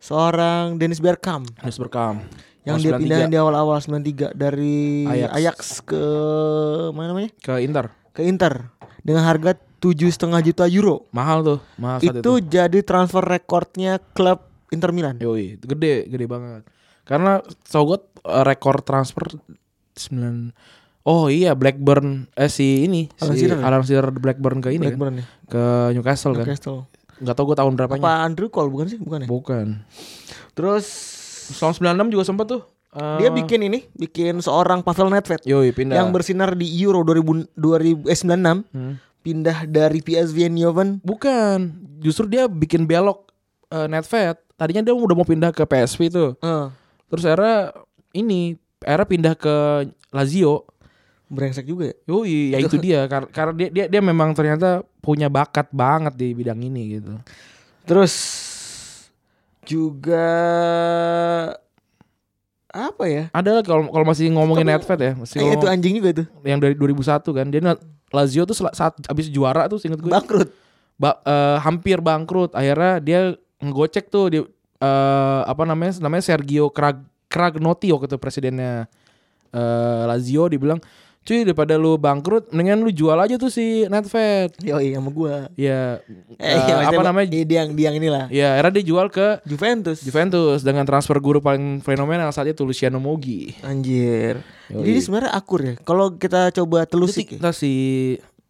[SPEAKER 2] seorang Dennis Bergkamp
[SPEAKER 3] Dennis Bergkamp
[SPEAKER 2] yang
[SPEAKER 3] Tahun
[SPEAKER 2] dia
[SPEAKER 3] 93
[SPEAKER 2] pindahin di awal-awal 93 dari
[SPEAKER 3] Oh, Ajax.
[SPEAKER 2] Ajax, ke mana namanya?
[SPEAKER 3] ke Inter
[SPEAKER 2] Ke Inter dengan harga tujuh setengah juta euro.
[SPEAKER 3] mahal tuh mahal saat
[SPEAKER 2] Itu
[SPEAKER 3] itu, Iya,
[SPEAKER 2] jadi transfer rekornya klub Inter Milan.
[SPEAKER 3] Yoi, itu eh, gede gede banget karena sogot rekor transfer 9 oh iya Blackburn eh si ini
[SPEAKER 2] Alan
[SPEAKER 3] si
[SPEAKER 2] Shearer ya?
[SPEAKER 3] Alan Shearer Blackburn ke ini
[SPEAKER 2] Blackburn ya?
[SPEAKER 3] kan? ke Newcastle kan.
[SPEAKER 2] Newcastle.
[SPEAKER 3] Nggak tahu gue tahun berapanya.
[SPEAKER 2] Apa Andrew Cole bukan sih? Bukan ya?
[SPEAKER 3] Bukan.
[SPEAKER 2] Terus
[SPEAKER 3] Tahun 96 juga sempat tuh. eh,
[SPEAKER 2] dia bikin ini, bikin seorang Pavel Nedved
[SPEAKER 3] Yoi pindah.
[SPEAKER 2] yang bersinar di Euro 2000, 2000 eh, 96 pindah dari PSV Eindhoven
[SPEAKER 3] Bukan, justru dia bikin belok eh, Netfed. Tadinya dia udah mau pindah ke PSV tuh.
[SPEAKER 2] eh,
[SPEAKER 3] Terus era ini, era pindah ke Lazio.
[SPEAKER 2] brengsek juga ya.
[SPEAKER 3] Yoi, ya itu dia. Kar- Karena dia, dia dia memang ternyata punya bakat banget di bidang ini gitu.
[SPEAKER 2] Terus juga apa ya?
[SPEAKER 3] Ada lah kalau kalau masih ngomongin Netfed ya,
[SPEAKER 2] Eh,
[SPEAKER 3] masih
[SPEAKER 2] itu
[SPEAKER 3] ngomong-
[SPEAKER 2] anjing juga itu.
[SPEAKER 3] yang dari 2001 kan. Dia na- Lazio tuh sel- saat abis juara tuh singkat gue
[SPEAKER 2] Bangkrut.
[SPEAKER 3] ba- eh, hampir bangkrut. Akhirnya dia ngegocek tuh di eh, apa namanya? Namanya Sergio Crag Cragnotti waktu itu presidennya eh, Lazio dibilang, "Cuy, daripada lu bangkrut, mendingan lu jual aja tuh si Netfed."
[SPEAKER 2] Yoi sama gua.
[SPEAKER 3] Ya,
[SPEAKER 2] Eh,
[SPEAKER 3] eh,
[SPEAKER 2] iya,
[SPEAKER 3] apa
[SPEAKER 2] maksudnya,
[SPEAKER 3] namanya?
[SPEAKER 2] Iya, dia yang dia yang inilah.
[SPEAKER 3] Ya, akhirnya dia jual ke
[SPEAKER 2] Juventus.
[SPEAKER 3] Juventus dengan transfer guru paling fenomenal saat itu Luciano Mogi.
[SPEAKER 2] Anjir. Jadi
[SPEAKER 3] Yoi.
[SPEAKER 2] dia sebenarnya akur ya. Kalau kita coba telusik, ya.
[SPEAKER 3] Kita si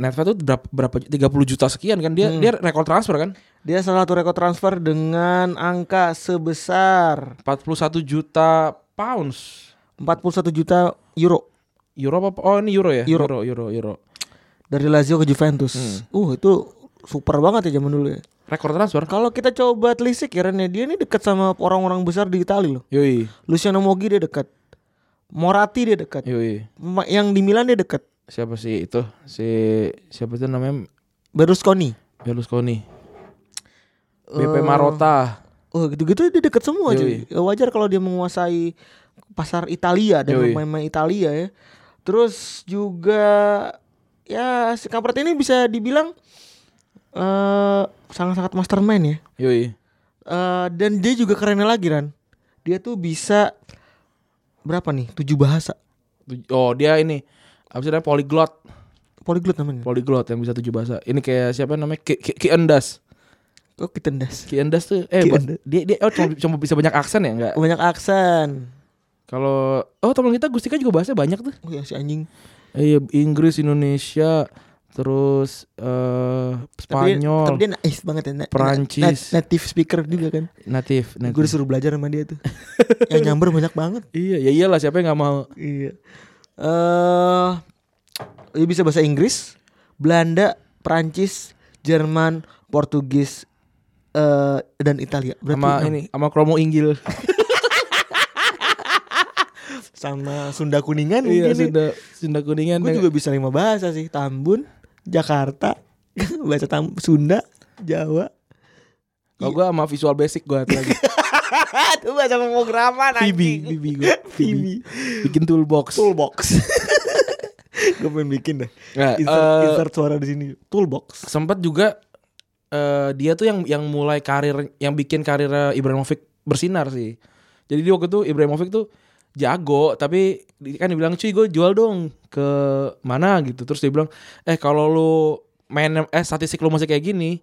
[SPEAKER 3] Netfed tuh berapa berapa 30 juta sekian kan dia dia rekor transfer kan?
[SPEAKER 2] dia salah satu rekor transfer dengan angka sebesar
[SPEAKER 3] 41 juta pounds.
[SPEAKER 2] 41 juta euro
[SPEAKER 3] Euro apa? Oh ini Euro ya?
[SPEAKER 2] Euro.
[SPEAKER 3] Euro, Euro, Euro.
[SPEAKER 2] dari Lazio ke Juventus. Uh, itu super banget ya zaman dulu ya.
[SPEAKER 3] Rekor transfer.
[SPEAKER 2] Kalau kita coba telisik ya Ren, ya, dia ini dekat sama orang-orang besar di Italia loh.
[SPEAKER 3] Yoi,
[SPEAKER 2] Luciano Mogi dia dekat. Morati dia dekat.
[SPEAKER 3] yoi.
[SPEAKER 2] Ma- Yang di Milan dia dekat.
[SPEAKER 3] Siapa sih itu? Si siapa itu namanya?
[SPEAKER 2] Berlusconi.
[SPEAKER 3] Berlusconi. BP Marotta.
[SPEAKER 2] Oh, gitu-gitu dia dekat semua cuy.
[SPEAKER 3] Yoi.
[SPEAKER 2] Ya, Wajar kalau dia menguasai pasar Italia dan
[SPEAKER 3] Yoi.
[SPEAKER 2] pemain-pemain Italia ya. Terus juga ya si Kampret ini bisa dibilang eh sangat-sangat mastermind ya.
[SPEAKER 3] Yoi.
[SPEAKER 2] Eh, dan dia juga kerennya lagi Ran. Dia tuh bisa berapa nih? Tujuh bahasa.
[SPEAKER 3] Tuj- Oh dia ini. Apa sih namanya? Polyglot.
[SPEAKER 2] Polyglot namanya.
[SPEAKER 3] Polyglot yang bisa tujuh bahasa. Ini kayak siapa namanya? Ki Ki- Ki Endas.
[SPEAKER 2] Oh, kitendas.
[SPEAKER 3] Ki Endas tuh eh
[SPEAKER 2] Ki
[SPEAKER 3] ba-
[SPEAKER 2] Endas.
[SPEAKER 3] dia dia oh, cuma, cuma bisa banyak aksen ya enggak?
[SPEAKER 2] Banyak aksen.
[SPEAKER 3] Kalau oh teman kita Gustika juga bahasa banyak tuh.
[SPEAKER 2] Oh ya si anjing.
[SPEAKER 3] Eh, Iya, Inggris, Indonesia, terus eh
[SPEAKER 2] Tapi dia-
[SPEAKER 3] Spanyol,
[SPEAKER 2] Tapi dia nice banget ya. na- na-
[SPEAKER 3] Perancis.
[SPEAKER 2] nat- native speaker juga kan.
[SPEAKER 3] natif, natif.
[SPEAKER 2] Gue disuruh belajar sama dia tuh. Yang nyamber banyak banget.
[SPEAKER 3] Iya, ya iyalah siapa yang nggak mau.
[SPEAKER 2] Iya. Eh, dia bisa bahasa Inggris, Belanda, Perancis, Jerman, Portugis, eh dan Italia. Berarti
[SPEAKER 3] sama
[SPEAKER 2] enam.
[SPEAKER 3] ini sama kromo inggil
[SPEAKER 2] sama Sunda Kuningan
[SPEAKER 3] iya
[SPEAKER 2] mungkin nih.
[SPEAKER 3] sunda sunda kuningan ya.
[SPEAKER 2] Gue Kan juga bisa lima bahasa sih, Tambun, Jakarta, bahasa Tam- Sunda, Jawa.
[SPEAKER 3] kalau gue sama visual basic gue lagi
[SPEAKER 2] Itu bahasa pemrograman
[SPEAKER 3] bibi
[SPEAKER 2] anjing.
[SPEAKER 3] bibi gue
[SPEAKER 2] Bibi.
[SPEAKER 3] bikin toolbox
[SPEAKER 2] Toolbox. Gue pengen bikin deh.
[SPEAKER 3] Nah,
[SPEAKER 2] Insert,
[SPEAKER 3] eh,
[SPEAKER 2] insert suara di sini. Toolbox.
[SPEAKER 3] sempat juga eh, dia tuh yang yang mulai karir yang bikin karir Ibrahimovic bersinar sih jadi di waktu itu Ibrahimovic tuh jago tapi di- kan dibilang cuy gue jual dong ke mana gitu terus dia bilang eh kalau lu main eh statistik lu masih kayak gini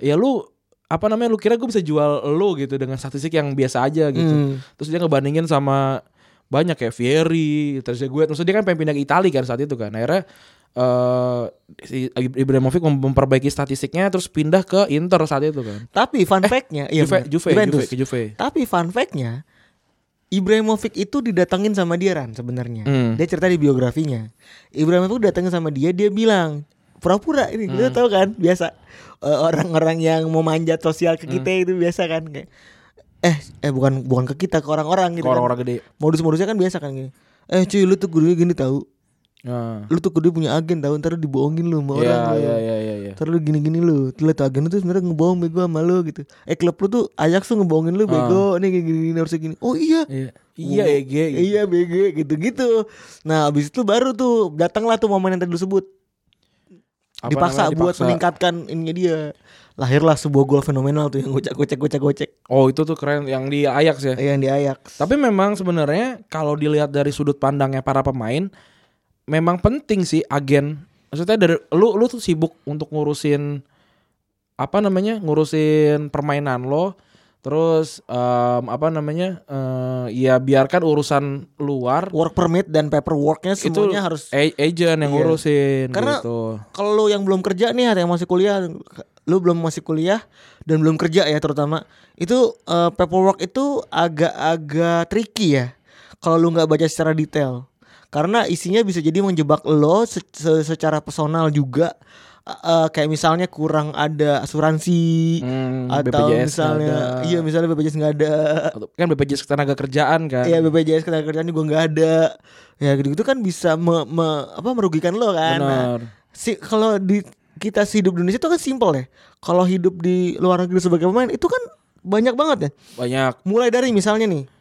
[SPEAKER 3] ya lu apa namanya lu kira gue bisa jual lu gitu dengan statistik yang biasa aja gitu
[SPEAKER 2] Hmm.
[SPEAKER 3] terus dia ngebandingin sama banyak kayak Fieri terus dia gue terus dia kan pengen pindah ke Italia kan saat itu kan akhirnya eh si Ibrahimovic mem- memperbaiki statistiknya terus pindah ke Inter saat itu kan
[SPEAKER 2] Tapi fun fact-nya iya
[SPEAKER 3] Juve,
[SPEAKER 2] benar.
[SPEAKER 3] Juve,
[SPEAKER 2] Juventus.
[SPEAKER 3] Juve, ke Juve.
[SPEAKER 2] Tapi fun fact-nya Ibrahimovic itu didatengin sama dia Ran sebenarnya.
[SPEAKER 3] Hmm.
[SPEAKER 2] Dia cerita di biografinya. Ibrahimovic datengin sama dia, dia bilang pura-pura ini lu
[SPEAKER 3] Hmm.
[SPEAKER 2] tau kan biasa Eh, orang-orang yang mau manjat sosial ke
[SPEAKER 3] Hmm.
[SPEAKER 2] kita itu biasa kan kayak eh eh bukan bukan ke kita ke orang-orang gitu.
[SPEAKER 3] Ke orang-orang
[SPEAKER 2] kan.
[SPEAKER 3] gede.
[SPEAKER 2] Modus-modusnya kan biasa kan gini. Eh cuy lu tuh gue gini tahu.
[SPEAKER 3] Nah.
[SPEAKER 2] Lu tuh gue punya agen tahu ntar lu dibohongin lu sama
[SPEAKER 3] Iya,
[SPEAKER 2] orang lu.
[SPEAKER 3] iya, iya, iya, iya.
[SPEAKER 2] Ntar lu gini-gini lu Tuh liat tuh agen lu tuh sebenernya ngebohong bego sama lu gitu Eh klub lu tuh Ajax tuh ngebohongin lu bego Nih gini-gini gini, harusnya gini Oh iya
[SPEAKER 3] Iya. Ah. Iya,
[SPEAKER 2] Ngomong-
[SPEAKER 3] EG, gitu.
[SPEAKER 2] Iya BG gitu-gitu Nah abis itu baru tuh Datanglah tuh momen yang tadi lu sebut
[SPEAKER 3] Apa
[SPEAKER 2] dipaksa,
[SPEAKER 3] namanya?
[SPEAKER 2] buat meningkatkan ininya dia Lahirlah sebuah gol fenomenal tuh Yang gocek-gocek-gocek-gocek
[SPEAKER 3] Oh, itu tuh keren yang di Ajax ya.
[SPEAKER 2] Yang di Ajax
[SPEAKER 3] Tapi memang sebenarnya kalau dilihat dari sudut pandangnya para pemain, memang penting sih agen. Maksudnya dari lu lu tuh sibuk untuk ngurusin apa namanya? ngurusin permainan lo, Terus em, apa namanya? eh, ya biarkan urusan luar
[SPEAKER 2] Work permit dan paperworknya semuanya
[SPEAKER 3] itu
[SPEAKER 2] harus. Iya.
[SPEAKER 3] a- agent yang ngurusin
[SPEAKER 2] Karena
[SPEAKER 3] gitu.
[SPEAKER 2] kalau lu yang belum kerja nih atau yang masih kuliah, lu belum masih kuliah dan belum kerja ya terutama itu eh, paperwork itu agak-agak tricky ya kalau lu nggak baca secara detail karena isinya bisa jadi menjebak lo se- se- secara personal juga Eh, eh, kayak misalnya kurang ada asuransi
[SPEAKER 3] Hmm,
[SPEAKER 2] atau
[SPEAKER 3] BPJS nggak
[SPEAKER 2] misalnya
[SPEAKER 3] ada.
[SPEAKER 2] iya misalnya BPJS nggak ada
[SPEAKER 3] Atau- Kan BPJS ketenaga kerjaan kan.
[SPEAKER 2] Iya BPJS ketenagakerjaan juga nggak ada ya gitu gitu kan bisa me- me- apa merugikan lo kan Nah,
[SPEAKER 3] Benar.
[SPEAKER 2] si kalau di kita sih hidup di Indonesia itu kan simpel ya kalau hidup di luar negeri sebagai pemain itu kan banyak banget ya
[SPEAKER 3] Banyak
[SPEAKER 2] mulai dari misalnya nih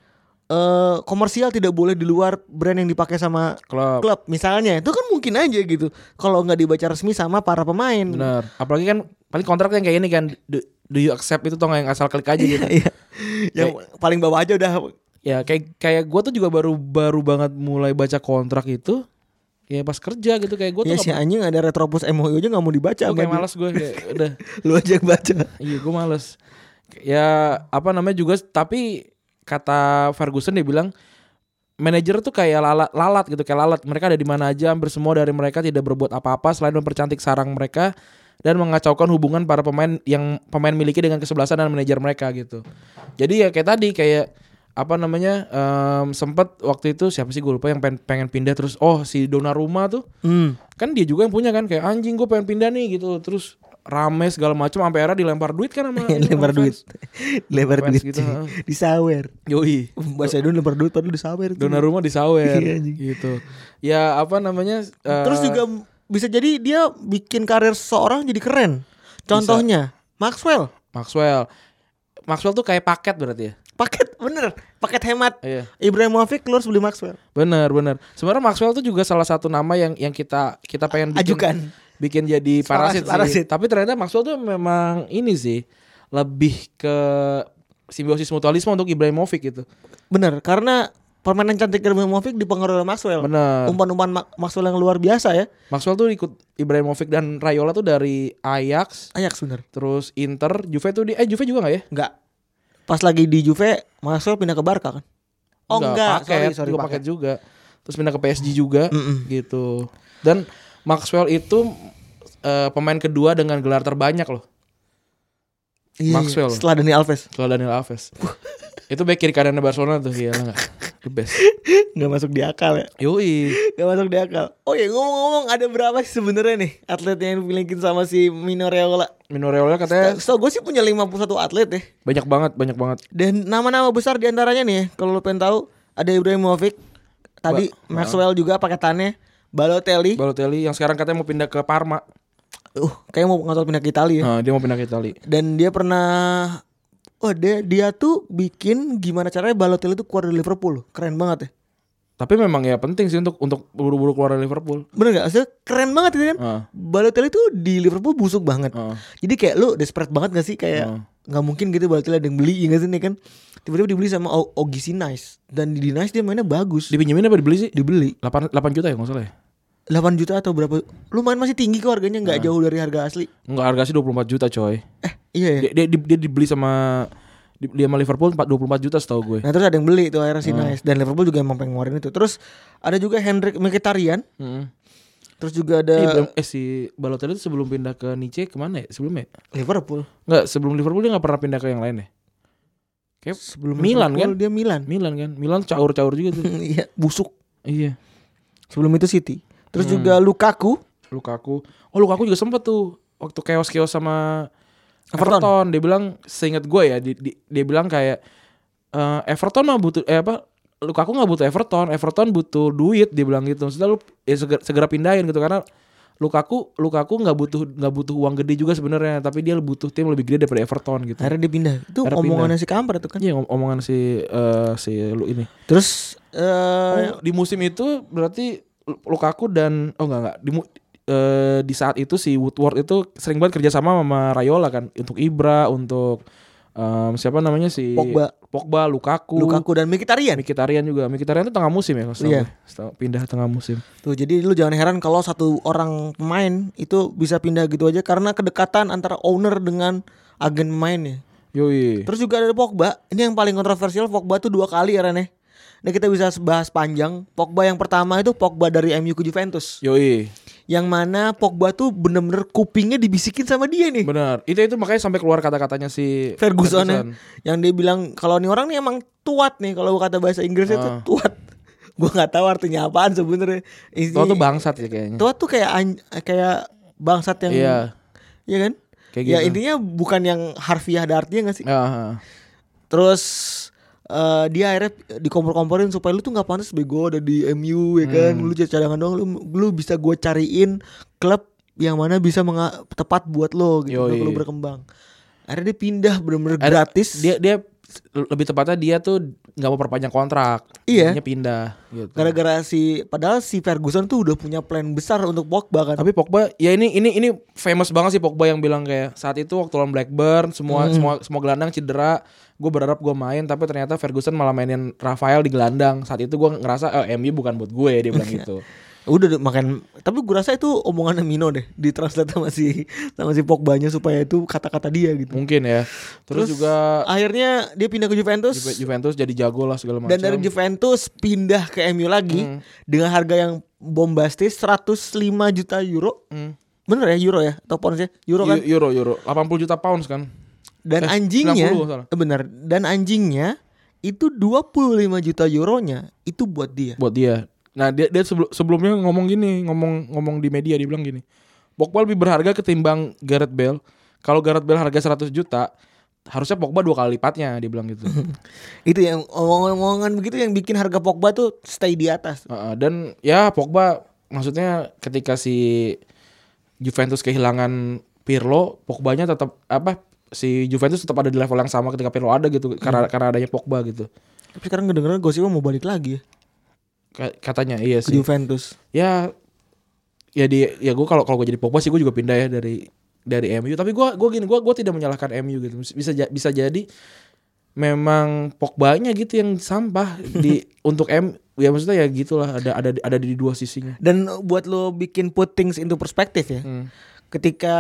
[SPEAKER 2] eh komersial tidak boleh di luar brand yang dipakai sama
[SPEAKER 3] klub.
[SPEAKER 2] klub misalnya itu kan mungkin aja gitu kalau nggak dibaca resmi sama para pemain
[SPEAKER 3] Benar. Apalagi kan paling kontraknya yang kayak ini kan do, do you accept itu tuh yang asal klik aja gitu.
[SPEAKER 2] Iya. yang paling bawah aja udah
[SPEAKER 3] ya kayak kayak gue tuh juga baru baru banget mulai baca kontrak itu ya pas kerja gitu kayak gue tuh
[SPEAKER 2] ya si anjing ada retropus MOU aja nggak mau dibaca sama
[SPEAKER 3] gue kayak
[SPEAKER 2] dia.
[SPEAKER 3] malas gue kayak udah
[SPEAKER 2] lu aja yang baca
[SPEAKER 3] iya gue malas ya apa namanya juga tapi kata Ferguson dia bilang manajer tuh kayak lalat, lalat gitu kayak lalat mereka ada di mana aja hampir semua dari mereka tidak berbuat apa-apa selain mempercantik sarang mereka dan mengacaukan hubungan para pemain yang pemain miliki dengan kesebelasan dan manajer mereka gitu jadi ya kayak tadi kayak apa namanya em, sempet waktu itu siapa sih gue lupa yang pengen, pengen pindah terus oh si Donnarumma tuh
[SPEAKER 2] Hmm.
[SPEAKER 3] kan dia juga yang punya kan kayak anjing gue pengen pindah nih gitu terus rame segala macam sampai era dilempar duit kan sama
[SPEAKER 2] lebar
[SPEAKER 3] ini, sama
[SPEAKER 2] Iya, duit
[SPEAKER 3] fans.
[SPEAKER 2] lebar
[SPEAKER 3] Fans
[SPEAKER 2] duit
[SPEAKER 3] gitu, heeh.
[SPEAKER 2] disawer
[SPEAKER 3] yoi
[SPEAKER 2] bahasa Indonesia lebar duit padahal disawer itu.
[SPEAKER 3] donor rumah disawer
[SPEAKER 2] Iya, anjing.
[SPEAKER 3] gitu ya apa namanya eh,
[SPEAKER 2] terus juga bisa jadi dia bikin karir seorang jadi keren contohnya Maxwell
[SPEAKER 3] Maxwell Maxwell tuh kayak paket berarti ya
[SPEAKER 2] paket bener paket hemat
[SPEAKER 3] iya
[SPEAKER 2] Ibrahimovic lu harus beli Maxwell
[SPEAKER 3] benar benar sebenarnya Maxwell tuh juga salah satu nama yang yang kita kita pengen bikin,
[SPEAKER 2] ajukan
[SPEAKER 3] bikin jadi
[SPEAKER 2] Parasit,
[SPEAKER 3] parasit, sih.
[SPEAKER 2] parasit.
[SPEAKER 3] tapi ternyata Maxwell tuh memang ini sih lebih ke simbiosis mutualisme untuk Ibrahimovic gitu
[SPEAKER 2] bener karena permainan cantik Ibrahimovic dipengaruhi oleh Maxwell
[SPEAKER 3] benar
[SPEAKER 2] umpan-umpan Ma- Maxwell yang luar biasa ya
[SPEAKER 3] Maxwell tuh ikut Ibrahimovic dan Rayola tuh dari Ajax,
[SPEAKER 2] Ajax bener
[SPEAKER 3] terus Inter, Juve tuh di eh Juve juga nggak ya?
[SPEAKER 2] enggak pas lagi di Juve Maxwell pindah ke Barca kan oh enggak, sorry
[SPEAKER 3] paket,
[SPEAKER 2] sorry
[SPEAKER 3] juga paket
[SPEAKER 2] paket.
[SPEAKER 3] juga. Terus pindah ke PSG juga
[SPEAKER 2] Mm-mm.
[SPEAKER 3] gitu. Dan Maxwell itu eh, pemain kedua dengan gelar terbanyak loh
[SPEAKER 2] Iya, iya.
[SPEAKER 3] Maxwell.
[SPEAKER 2] setelah Dani Alves
[SPEAKER 3] setelah Daniel Alves. itu back kiri kanannya Barcelona tuh ya enggak. The best.
[SPEAKER 2] nggak masuk di akal ya
[SPEAKER 3] Yoi.
[SPEAKER 2] Gak masuk di akal. Oh ya ngomong-ngomong ada berapa sih sebenarnya nih atlet yang dipilihin sama si Mino Raiola?
[SPEAKER 3] Mino Raiola katanya
[SPEAKER 2] So gue sih punya 51 atlet deh.
[SPEAKER 3] banyak banget, banyak banget.
[SPEAKER 2] Dan nama-nama besar diantaranya nih, ya, kalau lo pengen tahu ada Ibrahimovic, tadi Maxwell juga paketannya, Balotelli.
[SPEAKER 3] Balotelli yang sekarang katanya mau pindah ke Parma.
[SPEAKER 2] uh, kayak mau ngotot pindah ke Italia. ya.
[SPEAKER 3] Nah, dia mau pindah ke Italia.
[SPEAKER 2] Dan dia pernah Oh dia, dia tuh bikin gimana caranya Balotelli tuh keluar dari Liverpool loh. Keren banget ya
[SPEAKER 3] Tapi memang ya penting sih untuk untuk buru-buru keluar dari Liverpool.
[SPEAKER 2] Bener gak? Maksudnya keren banget itu kan
[SPEAKER 3] Ah.
[SPEAKER 2] Balotelli tuh di Liverpool busuk banget
[SPEAKER 3] Ah.
[SPEAKER 2] Jadi kayak lu desperate banget gak sih
[SPEAKER 3] Ah.
[SPEAKER 2] Kayak nggak mungkin gitu Balotelli ada yang beli ya gak sih nih kan Tiba-tiba dibeli sama O- Ogi Sinais Dan di Nice dia mainnya bagus
[SPEAKER 3] Dipinjemin apa dibeli sih?
[SPEAKER 2] Dibeli
[SPEAKER 3] 8, 8 juta ya nggak salah ya?
[SPEAKER 2] 8 juta atau berapa Lumayan masih tinggi kok harganya nggak
[SPEAKER 3] Ah.
[SPEAKER 2] jauh dari harga asli
[SPEAKER 3] Enggak harga sih 24 juta coy
[SPEAKER 2] Eh iya ya
[SPEAKER 3] Dia, dia, di- dia dibeli sama di- Dia sama Liverpool 4, 24 juta setahu gue
[SPEAKER 2] Nah terus ada yang beli tuh akhirnya
[SPEAKER 3] Ah.
[SPEAKER 2] Sinais Dan Liverpool juga emang pengen ngeluarin itu Terus ada juga Hendrik Mkhitaryan
[SPEAKER 3] Heeh.
[SPEAKER 2] Terus juga
[SPEAKER 3] Eh,
[SPEAKER 2] ada
[SPEAKER 3] Ibra- eh si Balotelli itu sebelum pindah ke Nice kemana ya? Sebelumnya ya?
[SPEAKER 2] Liverpool
[SPEAKER 3] Enggak sebelum Liverpool dia gak pernah pindah ke yang lain ya? Kayak sebelum Milan
[SPEAKER 2] Liverpool,
[SPEAKER 3] kan? Hmm.
[SPEAKER 2] Dia Milan
[SPEAKER 3] Milan kan? Milan caur-caur juga tuh
[SPEAKER 2] Iya busuk
[SPEAKER 3] Iya
[SPEAKER 2] Sebelum itu City Terus
[SPEAKER 3] Hmm.
[SPEAKER 2] juga Lukaku
[SPEAKER 3] Lukaku Oh Lukaku juga sempet tuh Waktu keos-keos sama
[SPEAKER 2] Everton.
[SPEAKER 3] Everton, Dia bilang seingat gue ya di- di- Dia bilang kayak eh, Everton mah butuh Eh apa Lukaku nggak butuh Everton Everton butuh duit Dia bilang gitu Maksudnya lu ya segera, segera pindahin gitu Karena Lukaku Lukaku nggak butuh nggak butuh uang gede juga sebenarnya tapi dia butuh tim lebih gede daripada Everton gitu.
[SPEAKER 2] Akhirnya dia pindah. Itu
[SPEAKER 3] Akhirnya
[SPEAKER 2] omongannya si Kampret tuh kan.
[SPEAKER 3] Iya om- omongan si eh, si lu ini.
[SPEAKER 2] Terus eh
[SPEAKER 3] Oh, di musim itu berarti Lukaku dan oh enggak enggak di mu- eh, di saat itu si Woodward itu sering banget kerjasama sama Rayola kan untuk Ibra untuk em, siapa namanya si
[SPEAKER 2] Pogba.
[SPEAKER 3] Pogba Lukaku,
[SPEAKER 2] Lukaku dan Mkhitaryan.
[SPEAKER 3] Mkhitaryan juga Mkhitaryan itu tengah musim ya kalau setahu
[SPEAKER 2] Iya.
[SPEAKER 3] gue. Setahu- pindah tengah musim
[SPEAKER 2] Tuh jadi lu jangan heran kalau satu orang pemain itu bisa pindah gitu aja karena kedekatan antara owner dengan agen pemainnya.
[SPEAKER 3] Yoi.
[SPEAKER 2] Terus juga ada Pogba. Ini yang paling kontroversial Pogba tuh dua kali ya Rene. Ini kita bisa bahas panjang. Pogba yang pertama itu Pogba dari MU ke Juventus.
[SPEAKER 3] Yoi.
[SPEAKER 2] Yang mana Pogba tuh bener-bener kupingnya dibisikin sama dia nih.
[SPEAKER 3] Benar. Itu itu makanya sampai keluar kata-katanya si
[SPEAKER 2] Ferguson, ya. yang dia bilang kalau nih orang nih emang tuat nih kalau kata bahasa Inggrisnya tuh
[SPEAKER 3] Ah.
[SPEAKER 2] tuat. Gua nggak tahu artinya apaan sebenarnya. Ini-
[SPEAKER 3] Tuh tuh bangsat ya kayaknya.
[SPEAKER 2] Tuat tuh kayak an- kayak bangsat yang
[SPEAKER 3] Iya.
[SPEAKER 2] Iya kan?
[SPEAKER 3] Kayak
[SPEAKER 2] ya
[SPEAKER 3] gitu.
[SPEAKER 2] intinya bukan yang harfiah ada artinya gak sih?
[SPEAKER 3] Ah,
[SPEAKER 2] Terus eh, dia akhirnya dikompor-komporin supaya lu tuh nggak pantas bego ada di MU ya kan.
[SPEAKER 3] Hmm.
[SPEAKER 2] Lu jadi cadangan doang lu lu bisa gue cariin klub yang mana bisa menga- tepat buat lo gitu
[SPEAKER 3] Yoi.
[SPEAKER 2] untuk lu berkembang. Akhirnya dia pindah bener-bener
[SPEAKER 3] Akhirnya
[SPEAKER 2] gratis.
[SPEAKER 3] Dia dia lebih tepatnya dia tuh nggak mau perpanjang kontrak.
[SPEAKER 2] Iya.
[SPEAKER 3] Jadinya pindah gitu.
[SPEAKER 2] gara-gara si padahal si Ferguson tuh udah punya plan besar untuk Pogba kan.
[SPEAKER 3] Tapi Pogba ya ini ini ini famous banget sih Pogba yang bilang kayak saat itu waktu lawan Blackburn semua
[SPEAKER 2] Hmm.
[SPEAKER 3] semua semua gelandang cedera, gue berharap gue main tapi ternyata Ferguson malah mainin Rafael di gelandang. Saat itu gue ngerasa eh, MU bukan buat gue dia bilang gitu.
[SPEAKER 2] Udah deh, makan tapi gue rasa itu omongan Mino deh ditranslate sama si sama si Pogba-nya supaya itu kata-kata dia gitu.
[SPEAKER 3] Mungkin ya. Terus, juga
[SPEAKER 2] akhirnya dia pindah ke Juventus
[SPEAKER 3] Ju- Juventus jadi jago lah segala macam. Hmm.
[SPEAKER 2] dan dari Juventus pindah ke MU lagi dengan harga yang bombastis 105 juta euro.
[SPEAKER 3] Hmm.
[SPEAKER 2] Bener ya euro ya atau pounds ya? Euro kan.
[SPEAKER 3] Eu- Euro eh, Euro 80 juta pounds kan.
[SPEAKER 2] Dan
[SPEAKER 3] eh,
[SPEAKER 2] anjingnya
[SPEAKER 3] 90 salah.
[SPEAKER 2] eh, bener dan anjingnya itu 25 juta euronya itu buat dia.
[SPEAKER 3] buat dia. Nah dia dia sebelum sebelumnya ngomong gini, ngomong ngomong di media dia bilang gini. Pogba lebih berharga ketimbang Gareth Bale. Kalau Gareth Bale harga 100 juta, harusnya Pogba dua kali lipatnya dia bilang gitu.
[SPEAKER 2] Itu yang omongan-omongan begitu yang bikin harga Pogba tuh stay di atas.
[SPEAKER 3] Heeh, dan ya Pogba maksudnya ketika si Juventus kehilangan Pirlo, Pogbanya tetap apa si Juventus tetap ada di level yang sama ketika Pirlo ada gitu karena karena adanya Pogba gitu.
[SPEAKER 2] Tapi sekarang kedengeran gosipnya mau balik lagi ya
[SPEAKER 3] Ka- Katanya iya
[SPEAKER 2] ke
[SPEAKER 3] sih.
[SPEAKER 2] Juventus.
[SPEAKER 3] ya ya di ya gue kalau kalau gue jadi Pogba sih gue juga pindah ya dari dari MU tapi gue gue gini gue gue tidak menyalahkan MU gitu bisa ja- bisa jadi memang Pogbanya gitu yang sampah di untuk M ya maksudnya ya gitulah ada ada ada di dua sisinya
[SPEAKER 2] Dan uh, buat lo bikin put things into perspective ya.
[SPEAKER 3] Hmm.
[SPEAKER 2] Ketika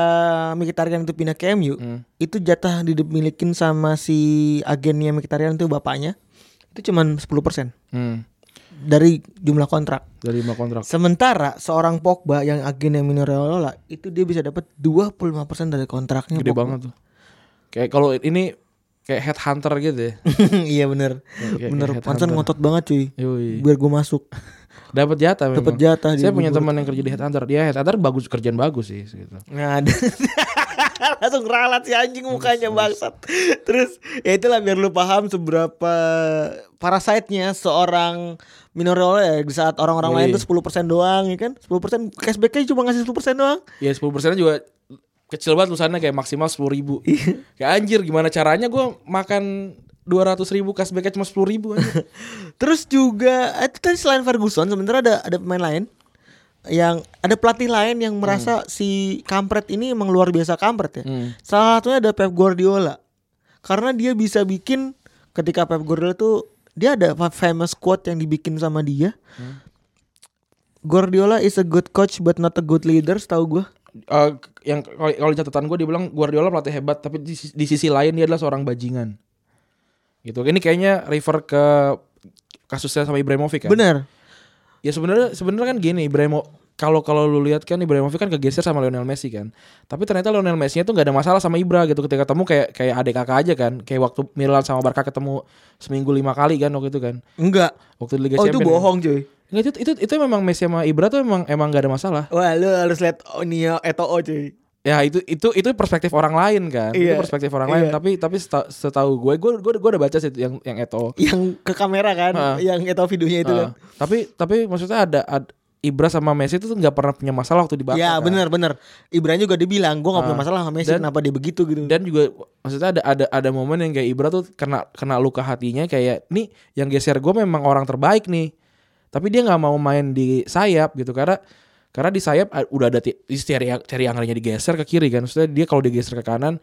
[SPEAKER 2] Mkhitaryan itu pindah ke MU, itu jatah dimilikin sama si agennya Mkhitaryan itu bapaknya. Itu cuman 10%
[SPEAKER 3] Hmm,
[SPEAKER 2] dari jumlah kontrak.
[SPEAKER 3] dari lima kontrak
[SPEAKER 2] Sementara seorang Pogba yang agennya Minoreola itu dia bisa dapat 25% dari kontraknya.
[SPEAKER 3] gede
[SPEAKER 2] Pogba.
[SPEAKER 3] banget tuh kayak kalau ini kayak headhunter gitu ya
[SPEAKER 2] iya bener.
[SPEAKER 3] kayak
[SPEAKER 2] bener,
[SPEAKER 3] headhunter.
[SPEAKER 2] Pansan ngotot banget cuy.
[SPEAKER 3] Yoi.
[SPEAKER 2] Biar gue masuk.
[SPEAKER 3] dapat jatah memang.
[SPEAKER 2] Dapat jatah dia,
[SPEAKER 3] saya punya
[SPEAKER 2] gua-
[SPEAKER 3] teman yang kerja di headhunter dia headhunter bagus kerjaan bagus sih gitu
[SPEAKER 2] Nah, ada- langsung ralat si anjing mukanya bangsat. Terus ya itulah biar lu paham seberapa parasitnya seorang mineral ya di saat orang-orang lain
[SPEAKER 3] Yoi.
[SPEAKER 2] tuh 10% doang ya kan. 10% cashbacknya cuma ngasih 10% doang.
[SPEAKER 3] Ya 10 persennya juga kecil banget lusannya kayak maksimal 10 ribu. kayak anjir gimana caranya gua makan 200 ribu cashbacknya cuma 10 ribu aja.
[SPEAKER 2] Terus juga eh, itu tadi selain Ferguson sebenarnya ada ada pemain lain yang ada pelatih lain yang
[SPEAKER 3] Hmm.
[SPEAKER 2] merasa si kampret ini emang luar biasa kampret ya. Salah satunya ada Pep Guardiola. Karena dia bisa bikin ketika Pep Guardiola tuh dia ada fa- famous quote yang dibikin sama dia.
[SPEAKER 3] Hmm.
[SPEAKER 2] Guardiola is a good coach but not a good leader, tahu gua.
[SPEAKER 3] Eh, yang kalau kalau di catatan gue dia bilang Guardiola pelatih hebat tapi di, sisi- di sisi lain dia adalah seorang bajingan. Gitu. Ini kayaknya refer ke kasusnya sama Ibrahimovic kan.
[SPEAKER 2] Bener
[SPEAKER 3] Ya sebenarnya sebenarnya kan gini Ibrahimo kalau kalau lu lihat kan Ibrahimovic kan kegeser sama Lionel Messi kan. Tapi ternyata Lionel Messi itu nggak ada masalah sama Ibra gitu ketika ketemu kayak kayak adik kakak aja kan. Kayak waktu Milan sama Barca ketemu seminggu lima kali kan waktu itu kan.
[SPEAKER 2] Enggak.
[SPEAKER 3] Waktu di Liga
[SPEAKER 2] Oh itu
[SPEAKER 3] Champions.
[SPEAKER 2] bohong cuy.
[SPEAKER 3] Enggak itu, itu itu memang Messi sama Ibra tuh emang emang gak ada masalah.
[SPEAKER 2] Wah lu harus lihat Onio Eto'o cuy.
[SPEAKER 3] Ya itu itu itu perspektif orang lain kan.
[SPEAKER 2] Iya.
[SPEAKER 3] Itu perspektif orang lain
[SPEAKER 2] Iya.
[SPEAKER 3] tapi tapi seta- setahu gue gue gue gue udah baca sih yang yang Eto.
[SPEAKER 2] Yang ke kamera kan,
[SPEAKER 3] Ah.
[SPEAKER 2] yang Eto'o videonya itu kan.
[SPEAKER 3] Ah, tapi tapi maksudnya ada, ada Ibra sama Messi itu tuh nggak pernah punya masalah waktu di Barca.
[SPEAKER 2] Ya
[SPEAKER 3] kan.
[SPEAKER 2] benar benar. Ibran juga dibilang gue nggak punya
[SPEAKER 3] Ah.
[SPEAKER 2] masalah sama Messi
[SPEAKER 3] Dan-
[SPEAKER 2] kenapa dia begitu gitu.
[SPEAKER 3] Dan juga maksudnya ada ada ada momen yang kayak Ibra tuh kena kena luka hatinya kayak nih yang geser gue memang orang terbaik nih. Tapi dia nggak mau main di sayap gitu karena karena di sayap ah, udah ada ti- si Thierry Thierry Henry-nya digeser ke kiri kan. Maksudnya dia kalau digeser ke kanan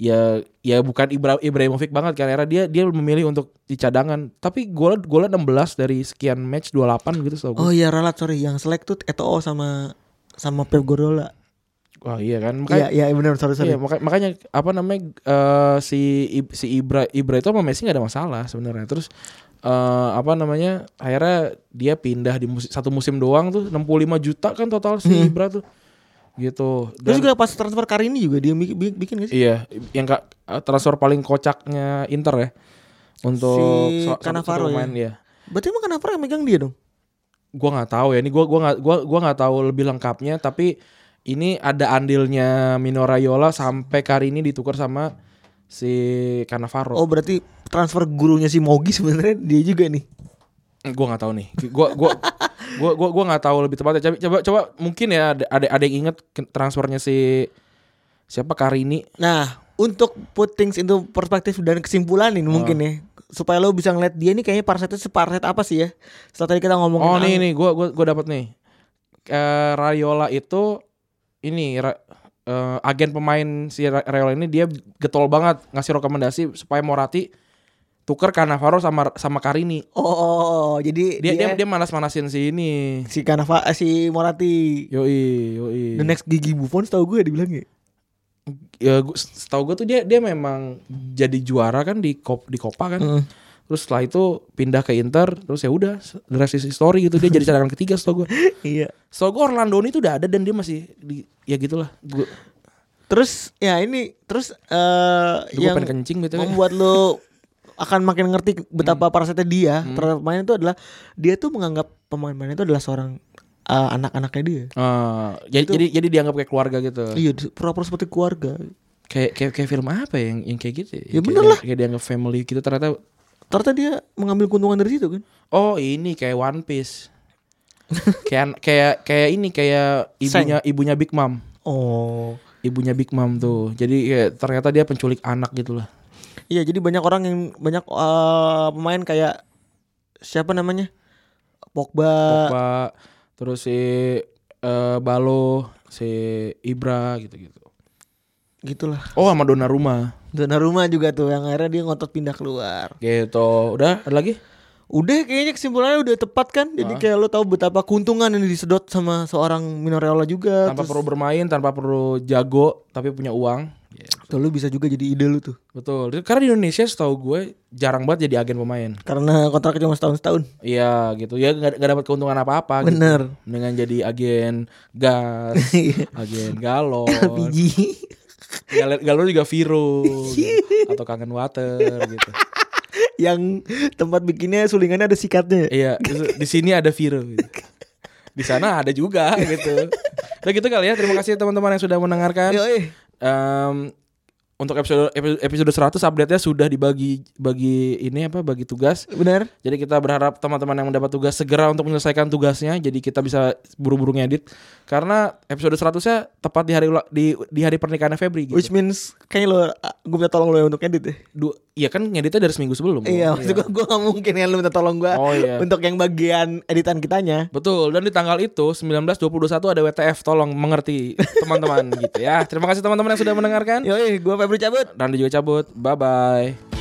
[SPEAKER 3] ya ya bukan Ibra Ibrahimovic banget kan era dia dia memilih untuk di cadangan. Tapi gol gol 16 dari sekian match 28 gitu setahu gue.
[SPEAKER 2] Oh iya ralat sorry yang selek tuh Eto'o sama sama Pep Guardiola.
[SPEAKER 3] Wah iya
[SPEAKER 2] Iya,
[SPEAKER 3] kan. Makanya,
[SPEAKER 2] iya benar sorry sorry.
[SPEAKER 3] iya, maka- makanya apa namanya eh, si Ib- si Ibra Ibra itu sama Messi nggak ada masalah sebenarnya. Terus eh, apa namanya akhirnya dia pindah di musim, satu musim doang tuh 65 juta kan total si Ibra tuh
[SPEAKER 2] Hmm.
[SPEAKER 3] gitu.
[SPEAKER 2] Terus
[SPEAKER 3] Dan-
[SPEAKER 2] juga pas transfer kali ini juga dia bikin, bikin gak sih?
[SPEAKER 3] Iya, yang ka- transfer paling kocaknya Inter ya. Untuk
[SPEAKER 2] Si
[SPEAKER 3] so- satu-
[SPEAKER 2] Cannavaro
[SPEAKER 3] satu
[SPEAKER 2] ya?
[SPEAKER 3] pemain, iya.
[SPEAKER 2] Berarti emang kenapa yang megang dia dong?
[SPEAKER 3] Gua nggak tahu ya. Ini gua gua nggak gua gua nggak tahu lebih lengkapnya tapi ini ada andilnya Mino Raiola sampai kali ini ditukar sama si Cannavaro.
[SPEAKER 2] Oh berarti transfer gurunya si Mogi sebenarnya dia juga nih.
[SPEAKER 3] Gua nggak tahu nih. Gua gua gua gua gua nggak tahu lebih tepatnya. Coba coba, coba mungkin ya ada ada, ada yang inget ke- transfernya si siapa Karini
[SPEAKER 2] Nah untuk put things into perspektif dan kesimpulan
[SPEAKER 3] Ah.
[SPEAKER 2] ini mungkin ya supaya lo bisa ngeliat dia nih kayaknya parsetnya separset apa sih ya? Setelah tadi kita ngomongin
[SPEAKER 3] Oh nih
[SPEAKER 2] Ang-
[SPEAKER 3] nih gua gua gua dapat nih. Eh Rayola itu ini ra- eh, agen pemain si Ra- Rayola ini dia getol banget ngasih rekomendasi supaya Morati tuker Cannavaro sama sama Karini.
[SPEAKER 2] Oh, oh, oh, oh, jadi
[SPEAKER 3] Dia dia, dia manas-manasin si ini.
[SPEAKER 2] si Kanava eh, si Morati
[SPEAKER 3] Yoi, yoi.
[SPEAKER 2] the next gigi Buffon setahu gue dibilang ya.
[SPEAKER 3] Ya, gua- setahu gue tuh dia dia memang jadi juara kan di kop di Copa kan. Terus setelah itu pindah ke Inter, terus ya udah, the rest is history gitu. Dia jadi cadangan ketiga setahu gue.
[SPEAKER 2] iya.
[SPEAKER 3] Setahu gue Orlando ini tuh udah ada dan dia masih di, ya gitulah. Gue
[SPEAKER 2] Terus ya ini terus eh
[SPEAKER 3] Aduh, gua
[SPEAKER 2] yang
[SPEAKER 3] pengen kencing gitu kan. BTW.
[SPEAKER 2] membuat lo akan makin ngerti betapa parasetnya dia terhadap pemain itu adalah dia tuh menganggap pemain-pemain itu adalah seorang eh, anak-anaknya dia.
[SPEAKER 3] Ah, jadi, jadi jadi dianggap kayak keluarga gitu.
[SPEAKER 2] Iya, di- pura-pura seperti keluarga.
[SPEAKER 3] Kayak kayak kayak film apa ya yang yang kayak gitu?
[SPEAKER 2] Ya
[SPEAKER 3] Kayak-
[SPEAKER 2] bener lah.
[SPEAKER 3] Kayak dianggap family gitu ternyata
[SPEAKER 2] Ternyata dia mengambil keuntungan dari situ kan.
[SPEAKER 3] oh ini kayak One Piece. kayak kayak kayak ini kayak ibunya ibunya Big Mom.
[SPEAKER 2] Oh.
[SPEAKER 3] Ibunya Big Mom tuh. Jadi kayak ternyata dia penculik anak gitu lah.
[SPEAKER 2] Iya, jadi banyak orang yang banyak eh, pemain kayak siapa namanya? Pogba,
[SPEAKER 3] Pogba, terus si eh, Balo, si Ibra gitu-gitu.
[SPEAKER 2] gitulah.
[SPEAKER 3] Oh, sama Donnarumma.
[SPEAKER 2] Donnarumma juga tuh yang akhirnya dia ngotot pindah keluar.
[SPEAKER 3] Gitu. Udah, ada lagi?
[SPEAKER 2] Eh, Udah kayaknya kesimpulannya udah tepat kan
[SPEAKER 3] Ah.
[SPEAKER 2] Jadi kayak lo tahu betapa keuntungan yang disedot sama seorang Minoreola juga
[SPEAKER 3] Tanpa
[SPEAKER 2] Terus
[SPEAKER 3] perlu bermain, tanpa perlu jago, tapi punya uang.
[SPEAKER 2] tuh lo bisa juga jadi ide lo tuh
[SPEAKER 3] Betul. Karena di Indonesia setahu gue jarang banget jadi agen pemain.
[SPEAKER 2] Karena kontraknya cuma setahun-setahun
[SPEAKER 3] Iya gitu. Ya gak, dapat keuntungan apa-apa gitu.
[SPEAKER 2] Bener.
[SPEAKER 3] Dengan jadi agen gas, agen galon,
[SPEAKER 2] Biji
[SPEAKER 3] gal- galon juga Viro gitu. atau kangen water gitu.
[SPEAKER 2] Yang tempat bikinnya sulingannya ada sikatnya
[SPEAKER 3] Iya, terus di sini ada Viro gitu. Di sana ada juga gitu. Udah gitu kali ya. Terima kasih teman-teman yang sudah mendengarkan.
[SPEAKER 2] Yoi.
[SPEAKER 3] Em, untuk episode episode 100 update-nya sudah dibagi bagi ini apa bagi tugas.
[SPEAKER 2] Bener
[SPEAKER 3] Jadi kita berharap teman-teman yang mendapat tugas segera untuk menyelesaikan tugasnya. Jadi kita bisa buru-buru ngedit karena episode 100-nya tepat di hari ula- di di hari pernikahan Febri gitu.
[SPEAKER 2] Which means kayaknya lo Gue minta tolong lo ya untuk edit ya
[SPEAKER 3] Du- iya kan ngeditnya dari seminggu sebelum.
[SPEAKER 2] Iya maksud gue Gue gak mungkin kan lo minta tolong gue
[SPEAKER 3] Oh, iya.
[SPEAKER 2] Untuk yang bagian editan kitanya
[SPEAKER 3] Betul. Dan di tanggal itu 19 21 ada WTF. Tolong mengerti teman-teman gitu ya. Terima kasih teman-teman yang sudah mendengarkan.
[SPEAKER 2] Yoi gue Febri cabut
[SPEAKER 3] Randy juga cabut. Bye bye.